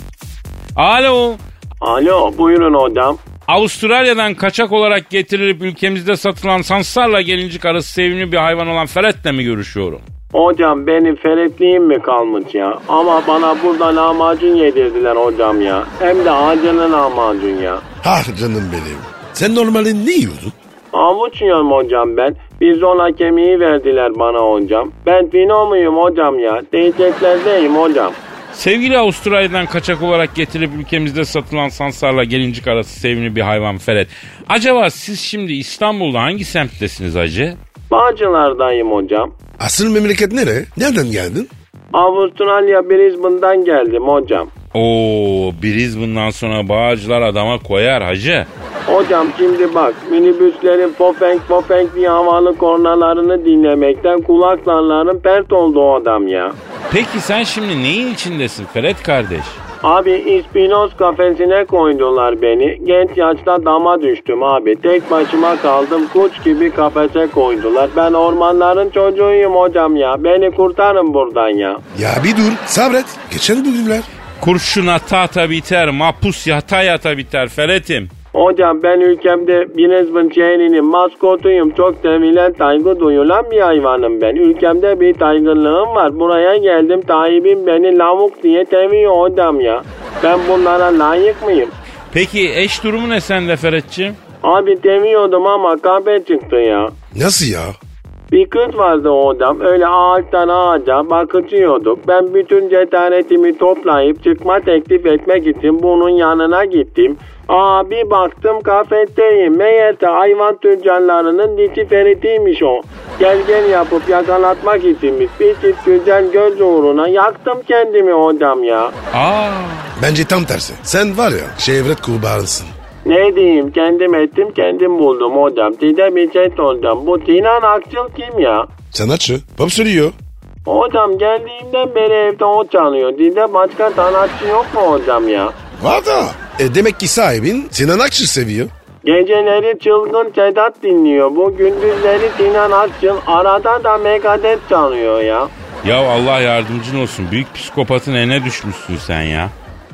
S2: Alo
S5: Alo buyurun hocam.
S2: Avustralya'dan kaçak olarak getirilip ülkemizde satılan sansarla gelincik arası sevimli bir hayvan olan feretle mi görüşüyorum?
S5: Hocam benim feretliğim mi kalmış ya? Ama bana burada lahmacun yedirdiler hocam ya. Hem de acılı lahmacun ya.
S3: Ah canım benim. Sen normalde ne yiyordun?
S5: Avuç yiyorum hocam ben. Bizona kemiği verdiler bana hocam. Ben fino muyum hocam ya? Değişeklerdeyim hocam.
S2: Sevgili Avustralya'dan kaçak olarak getirip ülkemizde satılan sansarla gelincik arası sevimli bir hayvan feret. Acaba siz şimdi İstanbul'da hangi semttesiniz acı?
S5: Bağcılardayım hocam.
S3: Asıl memleket nere? Nereden geldin?
S5: Avustralya Brisbane'dan geldim hocam.
S2: Oo biriz bundan sonra bağcılar adama koyar hacı.
S5: Hocam şimdi bak minibüslerin pofenk pofenk diye havalı kornalarını dinlemekten kulaklarların pert oldu o adam ya.
S2: Peki sen şimdi neyin içindesin Ferhat kardeş?
S5: Abi İspinoz kafesine koydular beni. Genç yaşta dama düştüm abi. Tek başıma kaldım. Kuş gibi kafese koydular. Ben ormanların çocuğuyum hocam ya. Beni kurtarın buradan ya.
S3: Ya bir dur. Sabret. Geçen bugünler.
S2: Kurşun ata ata biter, mapus yata yata biter Ferhat'im.
S5: Hocam ben ülkemde Brisbane şehrinin maskotuyum. Çok sevilen saygı duyulan bir hayvanım ben. Ülkemde bir saygınlığım var. Buraya geldim sahibim beni lavuk diye seviyor hocam ya. Ben bunlara layık mıyım?
S2: Peki eş durumu ne sende Ferhat'ciğim?
S5: Abi demiyordum ama kahve çıktı ya.
S3: Nasıl ya?
S5: Bir kız vardı o adam. Öyle ağaçtan ağaca bakıcıyorduk. Ben bütün cesaretimi toplayıp çıkma teklif etmek için bunun yanına gittim. Aa bir baktım kafetteyim. Meğerse hayvan tüccarlarının dişi feritiymiş o. Gel gel yapıp yakalatmak içinmiş. Bir çift güzel göz uğruna yaktım kendimi hocam ya.
S2: Aa,
S3: Bence tam tersi. Sen var ya şevret kurbanısın.
S5: Ne diyeyim kendim ettim kendim buldum hocam. Size bir şey soracağım. Bu Sinan Akçıl kim ya?
S3: Sanatçı. Pop söylüyor.
S5: Hocam geldiğimden beri evde o çalıyor. Dilde başka sanatçı yok mu hocam ya?
S3: Var da. E demek ki sahibin Sinan Akçı seviyor.
S5: Geceleri çılgın Sedat dinliyor. Bu gündüzleri Sinan Akçıl arada da Megadeth çalıyor ya.
S2: ya Allah yardımcın olsun. Büyük psikopatın eline düşmüşsün sen ya.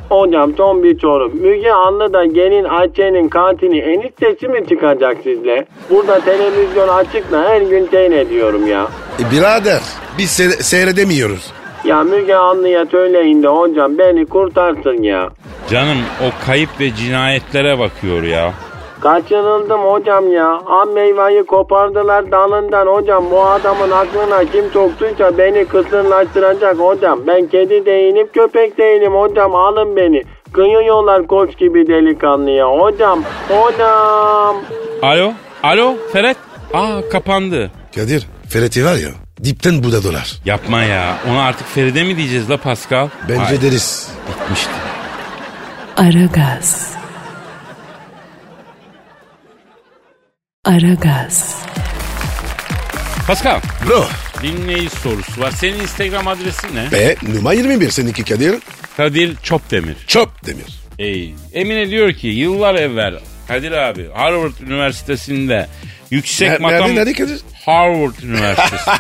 S5: Hocam son bir soru. Müge Anlı da gelin Ayça'nın katili eniştesi mi çıkacak sizle? Burada televizyon açıkla her gün seyret diyorum ya.
S3: E birader biz se- seyredemiyoruz.
S5: Ya Müge Anlı'ya söyleyin de hocam beni kurtarsın ya.
S2: Canım o kayıp ve cinayetlere bakıyor ya.
S5: Kaçırıldım hocam ya. Ham meyveyi kopardılar dalından hocam. Bu adamın aklına kim soktuysa beni kısırlaştıracak hocam. Ben kedi değilim köpek değilim hocam alın beni. Kıyıyorlar koç gibi delikanlıya hocam. Hocam.
S2: Alo, alo Ferhat. Aa kapandı.
S3: Kadir Fereti var ya dipten budadılar.
S2: Yapma ya. Ona artık Feride mi diyeceğiz la Pascal?
S3: Bence
S2: Ay,
S3: deriz.
S2: bitmişti.
S1: Aragaz. Aragaz.
S2: Pascal,
S3: Bro
S2: dinleyici sorusu var. Senin Instagram adresin ne?
S3: be numara 21 seninki Kadir.
S2: Kadir Çopdemir.
S3: Çöp demir.
S2: Ey, Emine diyor ki yıllar evvel Kadir abi Harvard Üniversitesi'nde yüksek
S3: Ne- nerede,
S2: matem...
S3: nerede Kadir?
S2: Harvard Üniversitesi.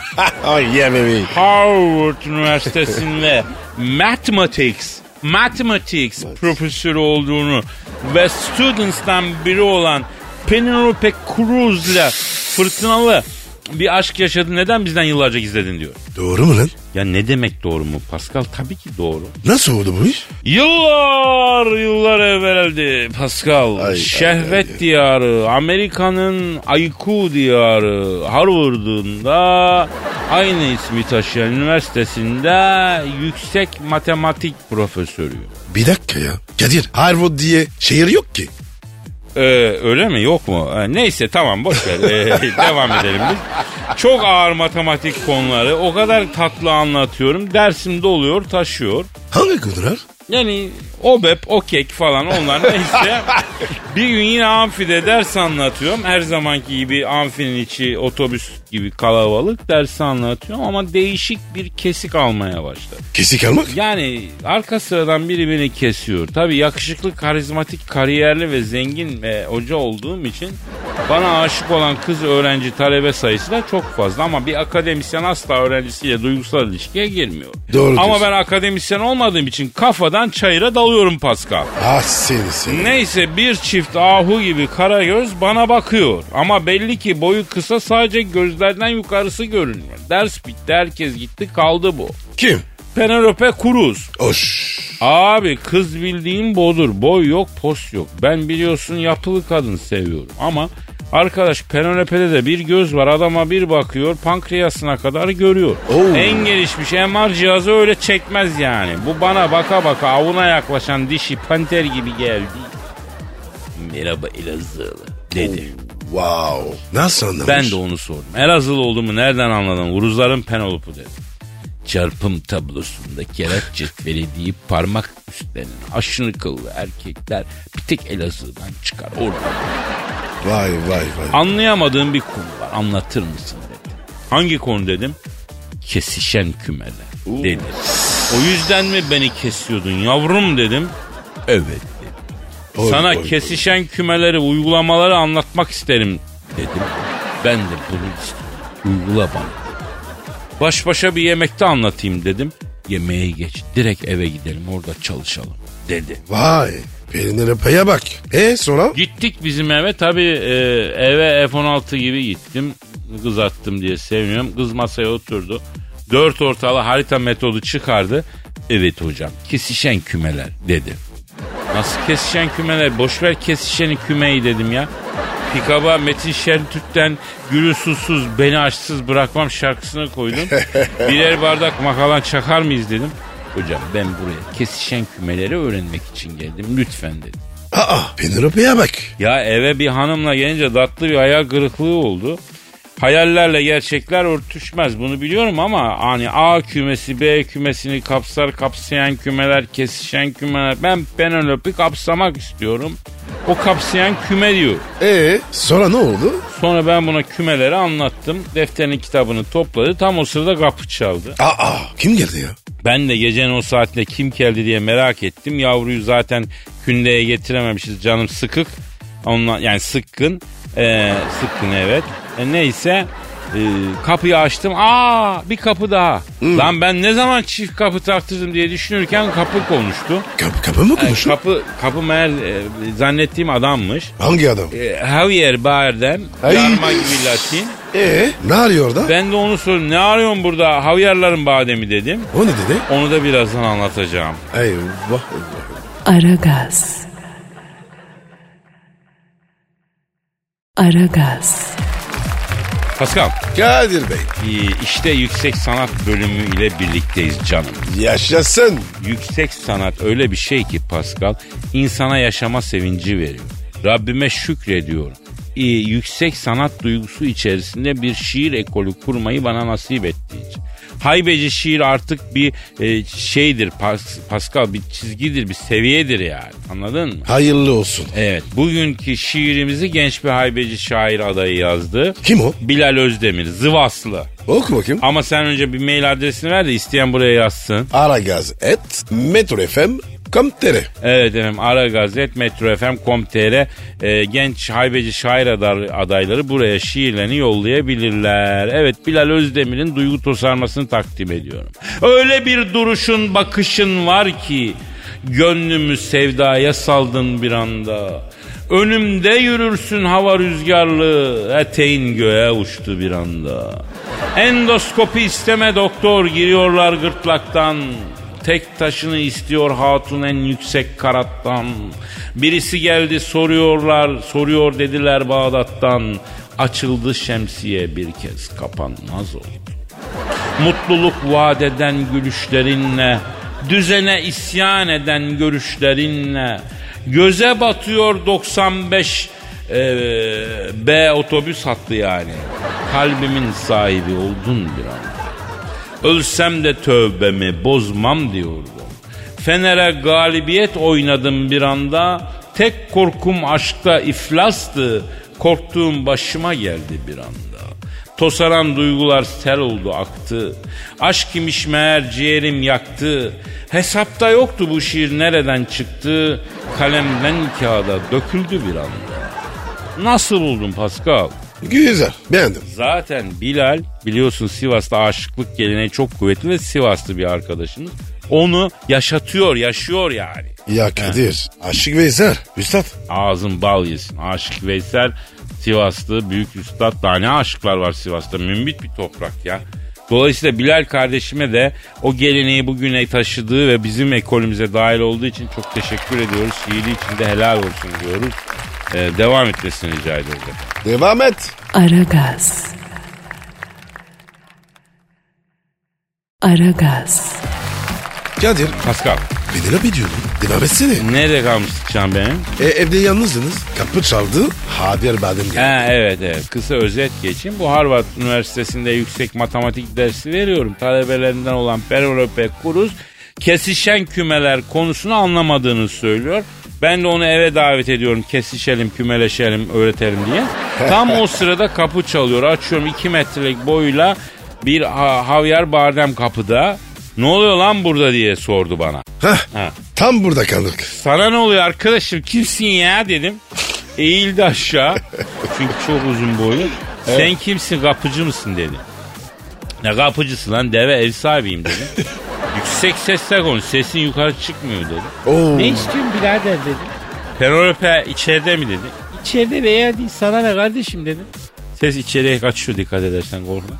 S3: Ay yeah baby.
S2: Harvard Üniversitesi'nde Mathematics Mathematics profesörü olduğunu ve students'tan biri olan Penelope Cruz'la fırtınalı bir aşk yaşadı. Neden bizden yıllarca gizledin diyor.
S3: Doğru mu lan?
S2: Ya ne demek doğru mu Pascal? Tabii ki doğru.
S3: Nasıl oldu bu iş?
S2: Yıllar yıllar evveldi Pascal.
S3: Ay, ay,
S2: Şehvet
S3: ay, ay.
S2: diyarı, Amerika'nın Ayku diyarı Harvard'ında aynı ismi taşıyan üniversitesinde yüksek matematik profesörü.
S3: Bir dakika ya. Kadir Harvard diye şehir yok ki.
S2: Ee, öyle mi yok mu? Ha, neyse tamam boş ver. Ee, devam edelim biz. Çok ağır matematik konuları o kadar tatlı anlatıyorum. Dersimde oluyor taşıyor.
S3: Hangi konular?
S2: Yani OBEP, OKEK falan onlar neyse. bir gün yine amfide ders anlatıyorum. Her zamanki gibi amfinin içi otobüs gibi kalabalık dersi anlatıyorum. Ama değişik bir kesik almaya başladı.
S3: Kesik almak?
S2: Yani arka sıradan biri beni kesiyor. Tabii yakışıklı, karizmatik, kariyerli ve zengin e, hoca olduğum için bana aşık olan kız öğrenci talebe sayısı da çok fazla. Ama bir akademisyen asla öğrencisiyle duygusal ilişkiye girmiyor.
S3: Doğru
S2: Ama
S3: diyorsun.
S2: ben akademisyen olmadığım için kafadan çayıra dalıyorum Pascal.
S3: Ah seni seni.
S2: Neyse bir çift ahu gibi kara göz bana bakıyor. Ama belli ki boyu kısa sadece gözlerden yukarısı görünüyor. Ders bitti herkes gitti kaldı bu.
S3: Kim?
S2: Penelope Cruz.
S3: Hoş.
S2: Abi kız bildiğin bodur. Boy yok, pos yok. Ben biliyorsun yapılı kadın seviyorum ama arkadaş Penelope'de de bir göz var. Adama bir bakıyor, pankreasına kadar görüyor.
S3: Oo.
S2: En gelişmiş MR cihazı öyle çekmez yani. Bu bana baka baka avına yaklaşan dişi panter gibi geldi. Merhaba Elazığlı dedi.
S3: Wow. Nasıl anlamış?
S2: Ben de onu sordum. Elazığlı olduğumu nereden anladın? Uruzların Penelope dedi. Çarpım tablosunda kerat cetveli deyip parmak üstlerine aşırı kıllı erkekler bir tek Elazığ'dan çıkar. Orada
S3: Vay vay vay.
S2: anlayamadığım bir konu var anlatır mısın dedi. Hangi konu dedim? Kesişen kümeler dedi. O yüzden mi beni kesiyordun yavrum dedim. Evet dedi.
S3: Oy,
S2: Sana
S3: oy, oy.
S2: kesişen kümeleri, uygulamaları anlatmak isterim dedim. Ben de bunu istiyorum. Uygula bana. Baş başa bir yemekte anlatayım dedim. Yemeğe geç. Direkt eve gidelim orada çalışalım dedi.
S3: Vay. Penelope'ye bak. E sonra?
S2: Gittik bizim eve. Tabii e, eve F-16 gibi gittim. Kız attım diye sevmiyorum. Kız masaya oturdu. Dört ortalı harita metodu çıkardı. Evet hocam kesişen kümeler dedi. Nasıl kesişen kümeler? Boşver kesişeni kümeyi dedim ya. Pikaba Metin Şentürk'ten Gülü Susuz Beni Açsız Bırakmam şarkısını koydum. Birer bardak makalan çakar mıyız dedim. Hocam ben buraya kesişen kümeleri öğrenmek için geldim lütfen dedim.
S3: Aa Penelope'ye bak.
S2: Ya eve bir hanımla gelince tatlı bir hayal kırıklığı oldu. Hayallerle gerçekler örtüşmez bunu biliyorum ama hani A kümesi B kümesini kapsar kapsayan kümeler kesişen kümeler. Ben Penelope'i kapsamak istiyorum. O kapsayan küme diyor.
S3: E sonra ne oldu?
S2: Sonra ben buna kümeleri anlattım. Defterin kitabını topladı. Tam o sırada kapı çaldı.
S3: Aa kim geldi ya?
S2: Ben de gecenin o saatinde kim geldi diye merak ettim. Yavruyu zaten kündeye getirememişiz. Canım sıkık. Ondan, yani sıkkın. Ee, sıkkın evet. E, neyse e, kapıyı açtım. Aa bir kapı daha. Lan ben ne zaman çift kapı taktırdım diye düşünürken kapı konuştu.
S3: Kapı, kapı mı
S2: E,
S3: konuştu?
S2: kapı kapı meğer e, zannettiğim adammış.
S3: Hangi adam?
S2: E, Javier Bardem.
S3: Ay.
S2: Yarma gibi Latin.
S3: E ne arıyor orada?
S2: Ben de onu sordum. Ne arıyorsun burada? Javier'ların bademi dedim.
S3: O ne dedi?
S2: Onu da birazdan anlatacağım.
S3: Eyvah eyvah.
S1: Aragaz. Aragaz.
S2: Pascal,
S3: Kadir Bey
S2: e, işte yüksek sanat bölümü ile birlikteyiz canım.
S3: yaşasın.
S2: Yüksek sanat öyle bir şey ki Pascal, insana yaşama sevinci veriyor. Rabbime şükrediyorum. E, yüksek sanat duygusu içerisinde bir şiir ekolü kurmayı bana nasip ettiği için. Haybeci şiir artık bir e, şeydir Pas- Pascal, bir çizgidir, bir seviyedir yani. Anladın mı?
S3: Hayırlı olsun.
S2: Evet, bugünkü şiirimizi genç bir haybeci şair adayı yazdı.
S3: Kim o?
S2: Bilal Özdemir, Zıvaslı.
S3: Oku bakayım.
S2: Ama sen önce bir mail adresini ver de isteyen buraya yazsın.
S3: Aragaz et metrofm.com.tr
S2: Evet efendim Aragazet, metrofm.com.tr e, genç haybeci şair adar- adayları buraya şiirlerini yollayabilirler. Evet Bilal Özdemir'in duygu tosarmasını takdim ediyorum. Öyle bir duruşun bakışın var ki gönlümü sevdaya saldın bir anda. Önümde yürürsün hava rüzgarlı. Eteğin göğe uçtu bir anda. Endoskopi isteme doktor giriyorlar gırtlaktan. Tek taşını istiyor hatun en yüksek karattan. Birisi geldi soruyorlar, soruyor dediler Bağdat'tan. Açıldı şemsiye bir kez kapanmaz oldu. Mutluluk vadeden gülüşlerinle, düzene isyan eden görüşlerinle, göze batıyor 95 eee, B otobüs hattı yani. Kalbimin sahibi oldun bir anda. Ölsem de tövbemi bozmam diyordu. Fener'e galibiyet oynadım bir anda. Tek korkum aşkta iflastı. Korktuğum başıma geldi bir anda. Tosaran duygular sel oldu aktı. Aşk imiş meğer ciğerim yaktı. Hesapta yoktu bu şiir nereden çıktı. Kalemden kağıda döküldü bir anda. Nasıl buldun Pascal?
S3: Güzel. Beğendim.
S2: Zaten Bilal biliyorsun Sivas'ta aşıklık geleneği çok kuvvetli ve Sivaslı bir arkadaşımız. Onu yaşatıyor, yaşıyor yani.
S3: Ya Kadir. Aşık Veysel. Üstad.
S2: Ağzın bal yesin. Aşık Veysel Sivaslı büyük üstad daha ne aşıklar var Sivas'ta. Mümbit bir toprak ya. Dolayısıyla Bilal kardeşime de o geleneği bugüne taşıdığı ve bizim ekolümüze dahil olduğu için çok teşekkür ediyoruz. Şiiri için de helal olsun diyoruz. Ee, devam etmesini rica ediyoruz.
S3: Devam et.
S1: Aragaz. Aragaz.
S3: Kadir.
S2: Pascal,
S3: Beni laf ediyordun. Devam etsene.
S2: nerede kalmıştık can benim?
S3: E, evde yalnızdınız. Kapı çaldı. Haber badem geldi.
S2: Ha, evet evet kısa özet geçeyim. Bu Harvard Üniversitesi'nde yüksek matematik dersi veriyorum. Talebelerinden olan Penelope Cruz kesişen kümeler konusunu anlamadığını söylüyor. Ben de onu eve davet ediyorum kesişelim kümeleşelim öğretelim diye. Tam o sırada kapı çalıyor. Açıyorum 2 metrelik boyuyla bir ha- havyar bardem kapıda. Ne oluyor lan burada diye sordu bana.
S3: Hah.
S2: Ha.
S3: Tam burada kaldık.
S2: Sana ne oluyor arkadaşım kimsin ya dedim. Eğildi aşağı. Çünkü çok uzun boyu. Sen kimsin kapıcı mısın dedi. Ne kapıcısı lan deve ev sahibiyim dedim. Yüksek sesle konuş sesin yukarı çıkmıyor dedi.
S3: Oo.
S2: Ne istiyorsun birader dedim. Penelope içeride mi dedi. İçeride veya değil sana ne kardeşim dedim. Ses içeriye kaçıyor dikkat edersen korkma.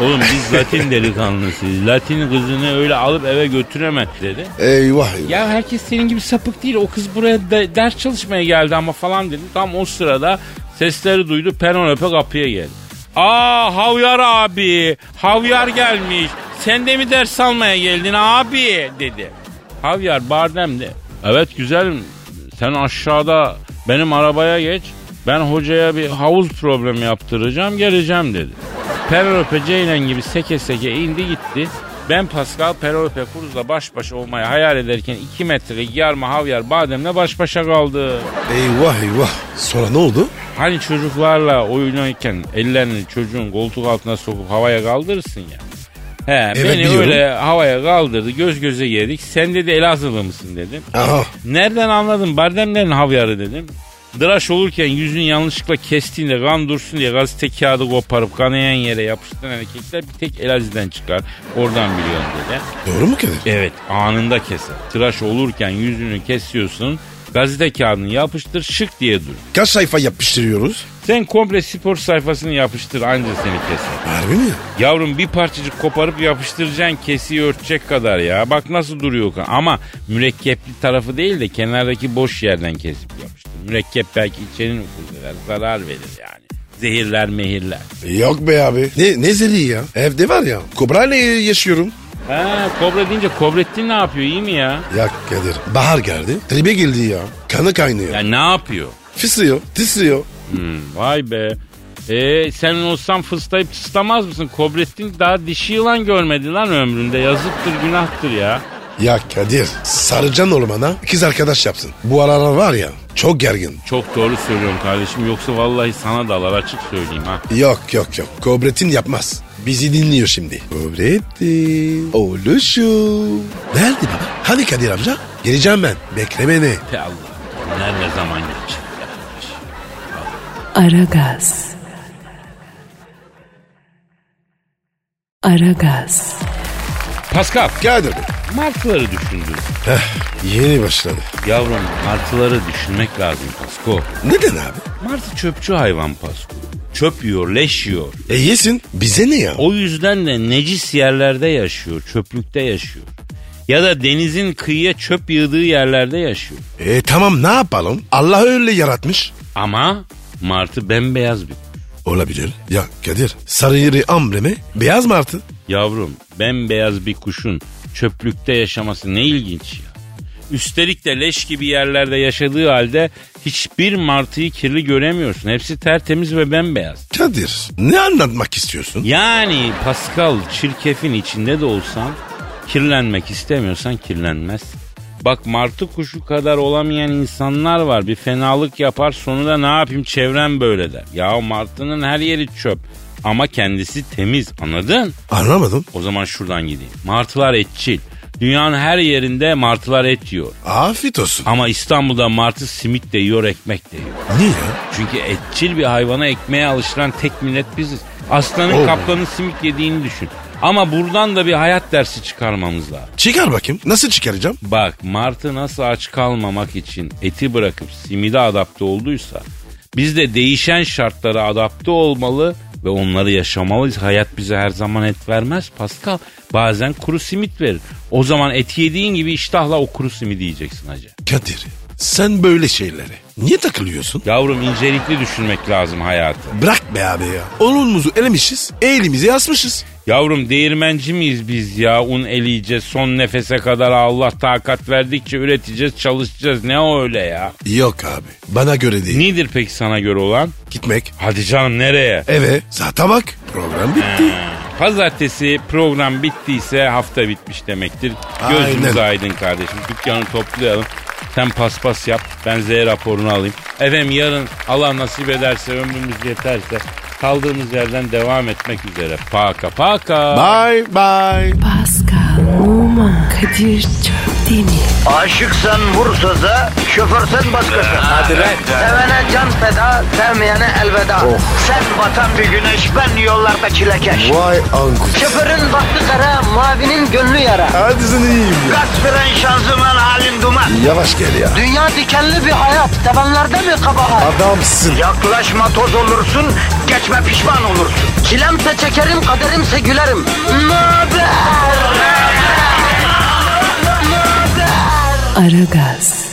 S2: Oğlum biz Latin delikanlısıyız. Latin kızını öyle alıp eve götüremez dedi.
S3: Eyvah. eyvah.
S2: Ya herkes senin gibi sapık değil. O kız buraya de- ders çalışmaya geldi ama falan dedim. Tam o sırada sesleri duydu. Penelope kapıya geldi. Aa Havyar abi. Havyar gelmiş. Sen de mi ders almaya geldin abi dedi. Havyar Bardem'de. Evet güzelim. Sen aşağıda benim arabaya geç. Ben hocaya bir havuz problemi yaptıracağım geleceğim dedi. Penelope Ceylan gibi seke seke indi gitti. Ben Pascal Penelope Cruz'la baş başa olmayı hayal ederken 2 metrelik yarma havyar bademle baş başa kaldı.
S3: Eyvah eyvah. Sonra ne oldu?
S2: Hani çocuklarla oynarken ellerini çocuğun koltuk altına sokup havaya kaldırırsın ya. He,
S3: Evet,
S2: beni
S3: biliyorum.
S2: öyle havaya kaldırdı göz göze geldik. Sen dedi Elazığlı mısın dedim.
S3: Aha.
S2: Nereden anladın bardemlerin havyarı dedim. Dıraş olurken yüzünü yanlışlıkla kestiğinde kan dursun diye gazete kağıdı koparıp kanayan yere yapıştıran erkekler bir tek Elazığ'dan çıkar. Oradan biliyorum dedi.
S3: Doğru mu Kadir?
S2: Evet anında keser. Tıraş olurken yüzünü kesiyorsun. Gazete kağıdını yapıştır şık diye dur.
S3: Kaç sayfa yapıştırıyoruz?
S2: Sen komple spor sayfasını yapıştır anca seni keser.
S3: Harbi mi?
S2: Yavrum bir parçacık koparıp yapıştıracaksın kesiyi örtecek kadar ya. Bak nasıl duruyor kan. Ama mürekkepli tarafı değil de kenardaki boş yerden kesip yapıştır. Mürekkep belki içeri nüfuz eder. Zarar verir yani. Zehirler mehirler.
S3: Yok be abi. Ne, ne zeliği ya? Evde var ya. Kobra ile yaşıyorum.
S2: Ha kobra deyince Kobrettin ne yapıyor iyi mi ya?
S3: Ya Kadir. Bahar geldi. Tribe girdi ya. Kanı kaynıyor.
S2: Ya ne yapıyor?
S3: Fısıyor. Tisliyor.
S2: Hmm, vay be. Ee, sen olsan fıslayıp tıslamaz mısın? Kobrettin daha dişi yılan görmedi lan ömründe. Yazıktır günahtır ya.
S3: Ya Kadir. Sarıcan ormana kız arkadaş yapsın. Bu aralar var ya. Çok gergin.
S2: Çok doğru söylüyorum kardeşim. Yoksa vallahi sana dalar açık söyleyeyim ha.
S3: Yok yok yok. Kobretin yapmaz. Bizi dinliyor şimdi. Kobretin. Oluşum. Nerede baba? Hadi Kadir amca. Geleceğim ben. Bekle beni.
S2: Pe Allah. Nerede zaman geçecek? ya?
S1: Aragaz. Aragaz.
S2: Pascal
S3: Kadir Bey.
S2: Martıları düşündür.
S3: Yeni başladı.
S2: Yavrum martıları düşünmek lazım Pasko.
S3: Neden abi?
S2: Martı çöpçü hayvan Pasko. Çöp yiyor, leş yiyor.
S3: E yesin. Bize ne ya?
S2: O yüzden de necis yerlerde yaşıyor, çöplükte yaşıyor. Ya da denizin kıyıya çöp yığdığı yerlerde yaşıyor.
S3: E tamam ne yapalım? Allah öyle yaratmış.
S2: Ama martı bembeyaz bir.
S3: Olabilir. Ya Kadir sarıyı ambre mi? Beyaz martı.
S2: Yavrum bembeyaz bir kuşun çöplükte yaşaması ne ilginç ya. Üstelik de leş gibi yerlerde yaşadığı halde hiçbir martıyı kirli göremiyorsun. Hepsi tertemiz ve bembeyaz.
S3: Kadir ne anlatmak istiyorsun?
S2: Yani Pascal çirkefin içinde de olsan kirlenmek istemiyorsan kirlenmez. Bak martı kuşu kadar olamayan insanlar var. Bir fenalık yapar sonunda ne yapayım çevrem böyle der. Ya martının her yeri çöp ama kendisi temiz anladın?
S3: Anlamadım.
S2: O zaman şuradan gideyim. Martılar etçil. Dünyanın her yerinde martılar et yiyor.
S3: Afiyet olsun.
S2: Ama İstanbul'da martı simit de yiyor, ekmek de yiyor.
S3: Niye ya?
S2: Çünkü etçil bir hayvana ekmeğe alıştıran tek millet biziz. Aslanın
S3: Oh.
S2: kaplanın simit yediğini düşün. Ama buradan da bir hayat dersi çıkarmamız lazım.
S3: Çıkar bakayım. Nasıl çıkaracağım?
S2: Bak martı nasıl aç kalmamak için eti bırakıp simide adapte olduysa biz de değişen şartlara adapte olmalı ve onları yaşamalıyız. Hayat bize her zaman et vermez Pascal. Bazen kuru simit verir. O zaman eti yediğin gibi iştahla o kuru simidi yiyeceksin hacı.
S3: Kadir sen böyle şeylere niye takılıyorsun?
S2: Yavrum incelikli düşünmek lazım hayatı.
S3: Bırak be abi ya. Olumuzu elemişiz, elimizi asmışız.
S2: Yavrum değirmenci miyiz biz ya? Un eleyeceğiz son nefese kadar Allah takat verdikçe üreteceğiz çalışacağız. Ne o öyle ya?
S3: Yok abi, bana göre değil.
S2: Nedir peki sana göre olan?
S3: Gitmek,
S2: Hadi canım nereye?
S3: eve, zaten bak. Program bitti.
S2: Pazartesi program bittiyse hafta bitmiş demektir. Gözümüz
S3: Aynen.
S2: aydın kardeşim. Dükkanı toplayalım. Sen paspas yap. Ben Z raporunu alayım. Efendim yarın Allah nasip ederse ömrümüz yeterse kaldığımız yerden devam etmek üzere. Paka paka.
S3: Bye bye.
S1: Pascal, Oman, Kadir çok değil mi?
S6: Aşıksan vursa da, şoförsen başkasın. Hadi lan. Oh. Sevene can feda, sevmeyene elveda. Sen batan bir güneş, ben yollarda çilekeş.
S3: Vay anku.
S6: Şoförün baktı kara, mavinin gönlü yara.
S3: Hadi sen iyiyim ya.
S6: Kasperen şanzıman halin duman.
S3: Yavaş gel ya.
S6: Dünya dikenli bir hayat, sevenlerde mi kabahar?
S3: Adamsın.
S6: Yaklaşma toz olursun, geçme pişman olursun. Çilemse çekerim, kaderimse gülerim. Möber!
S1: Aragaz.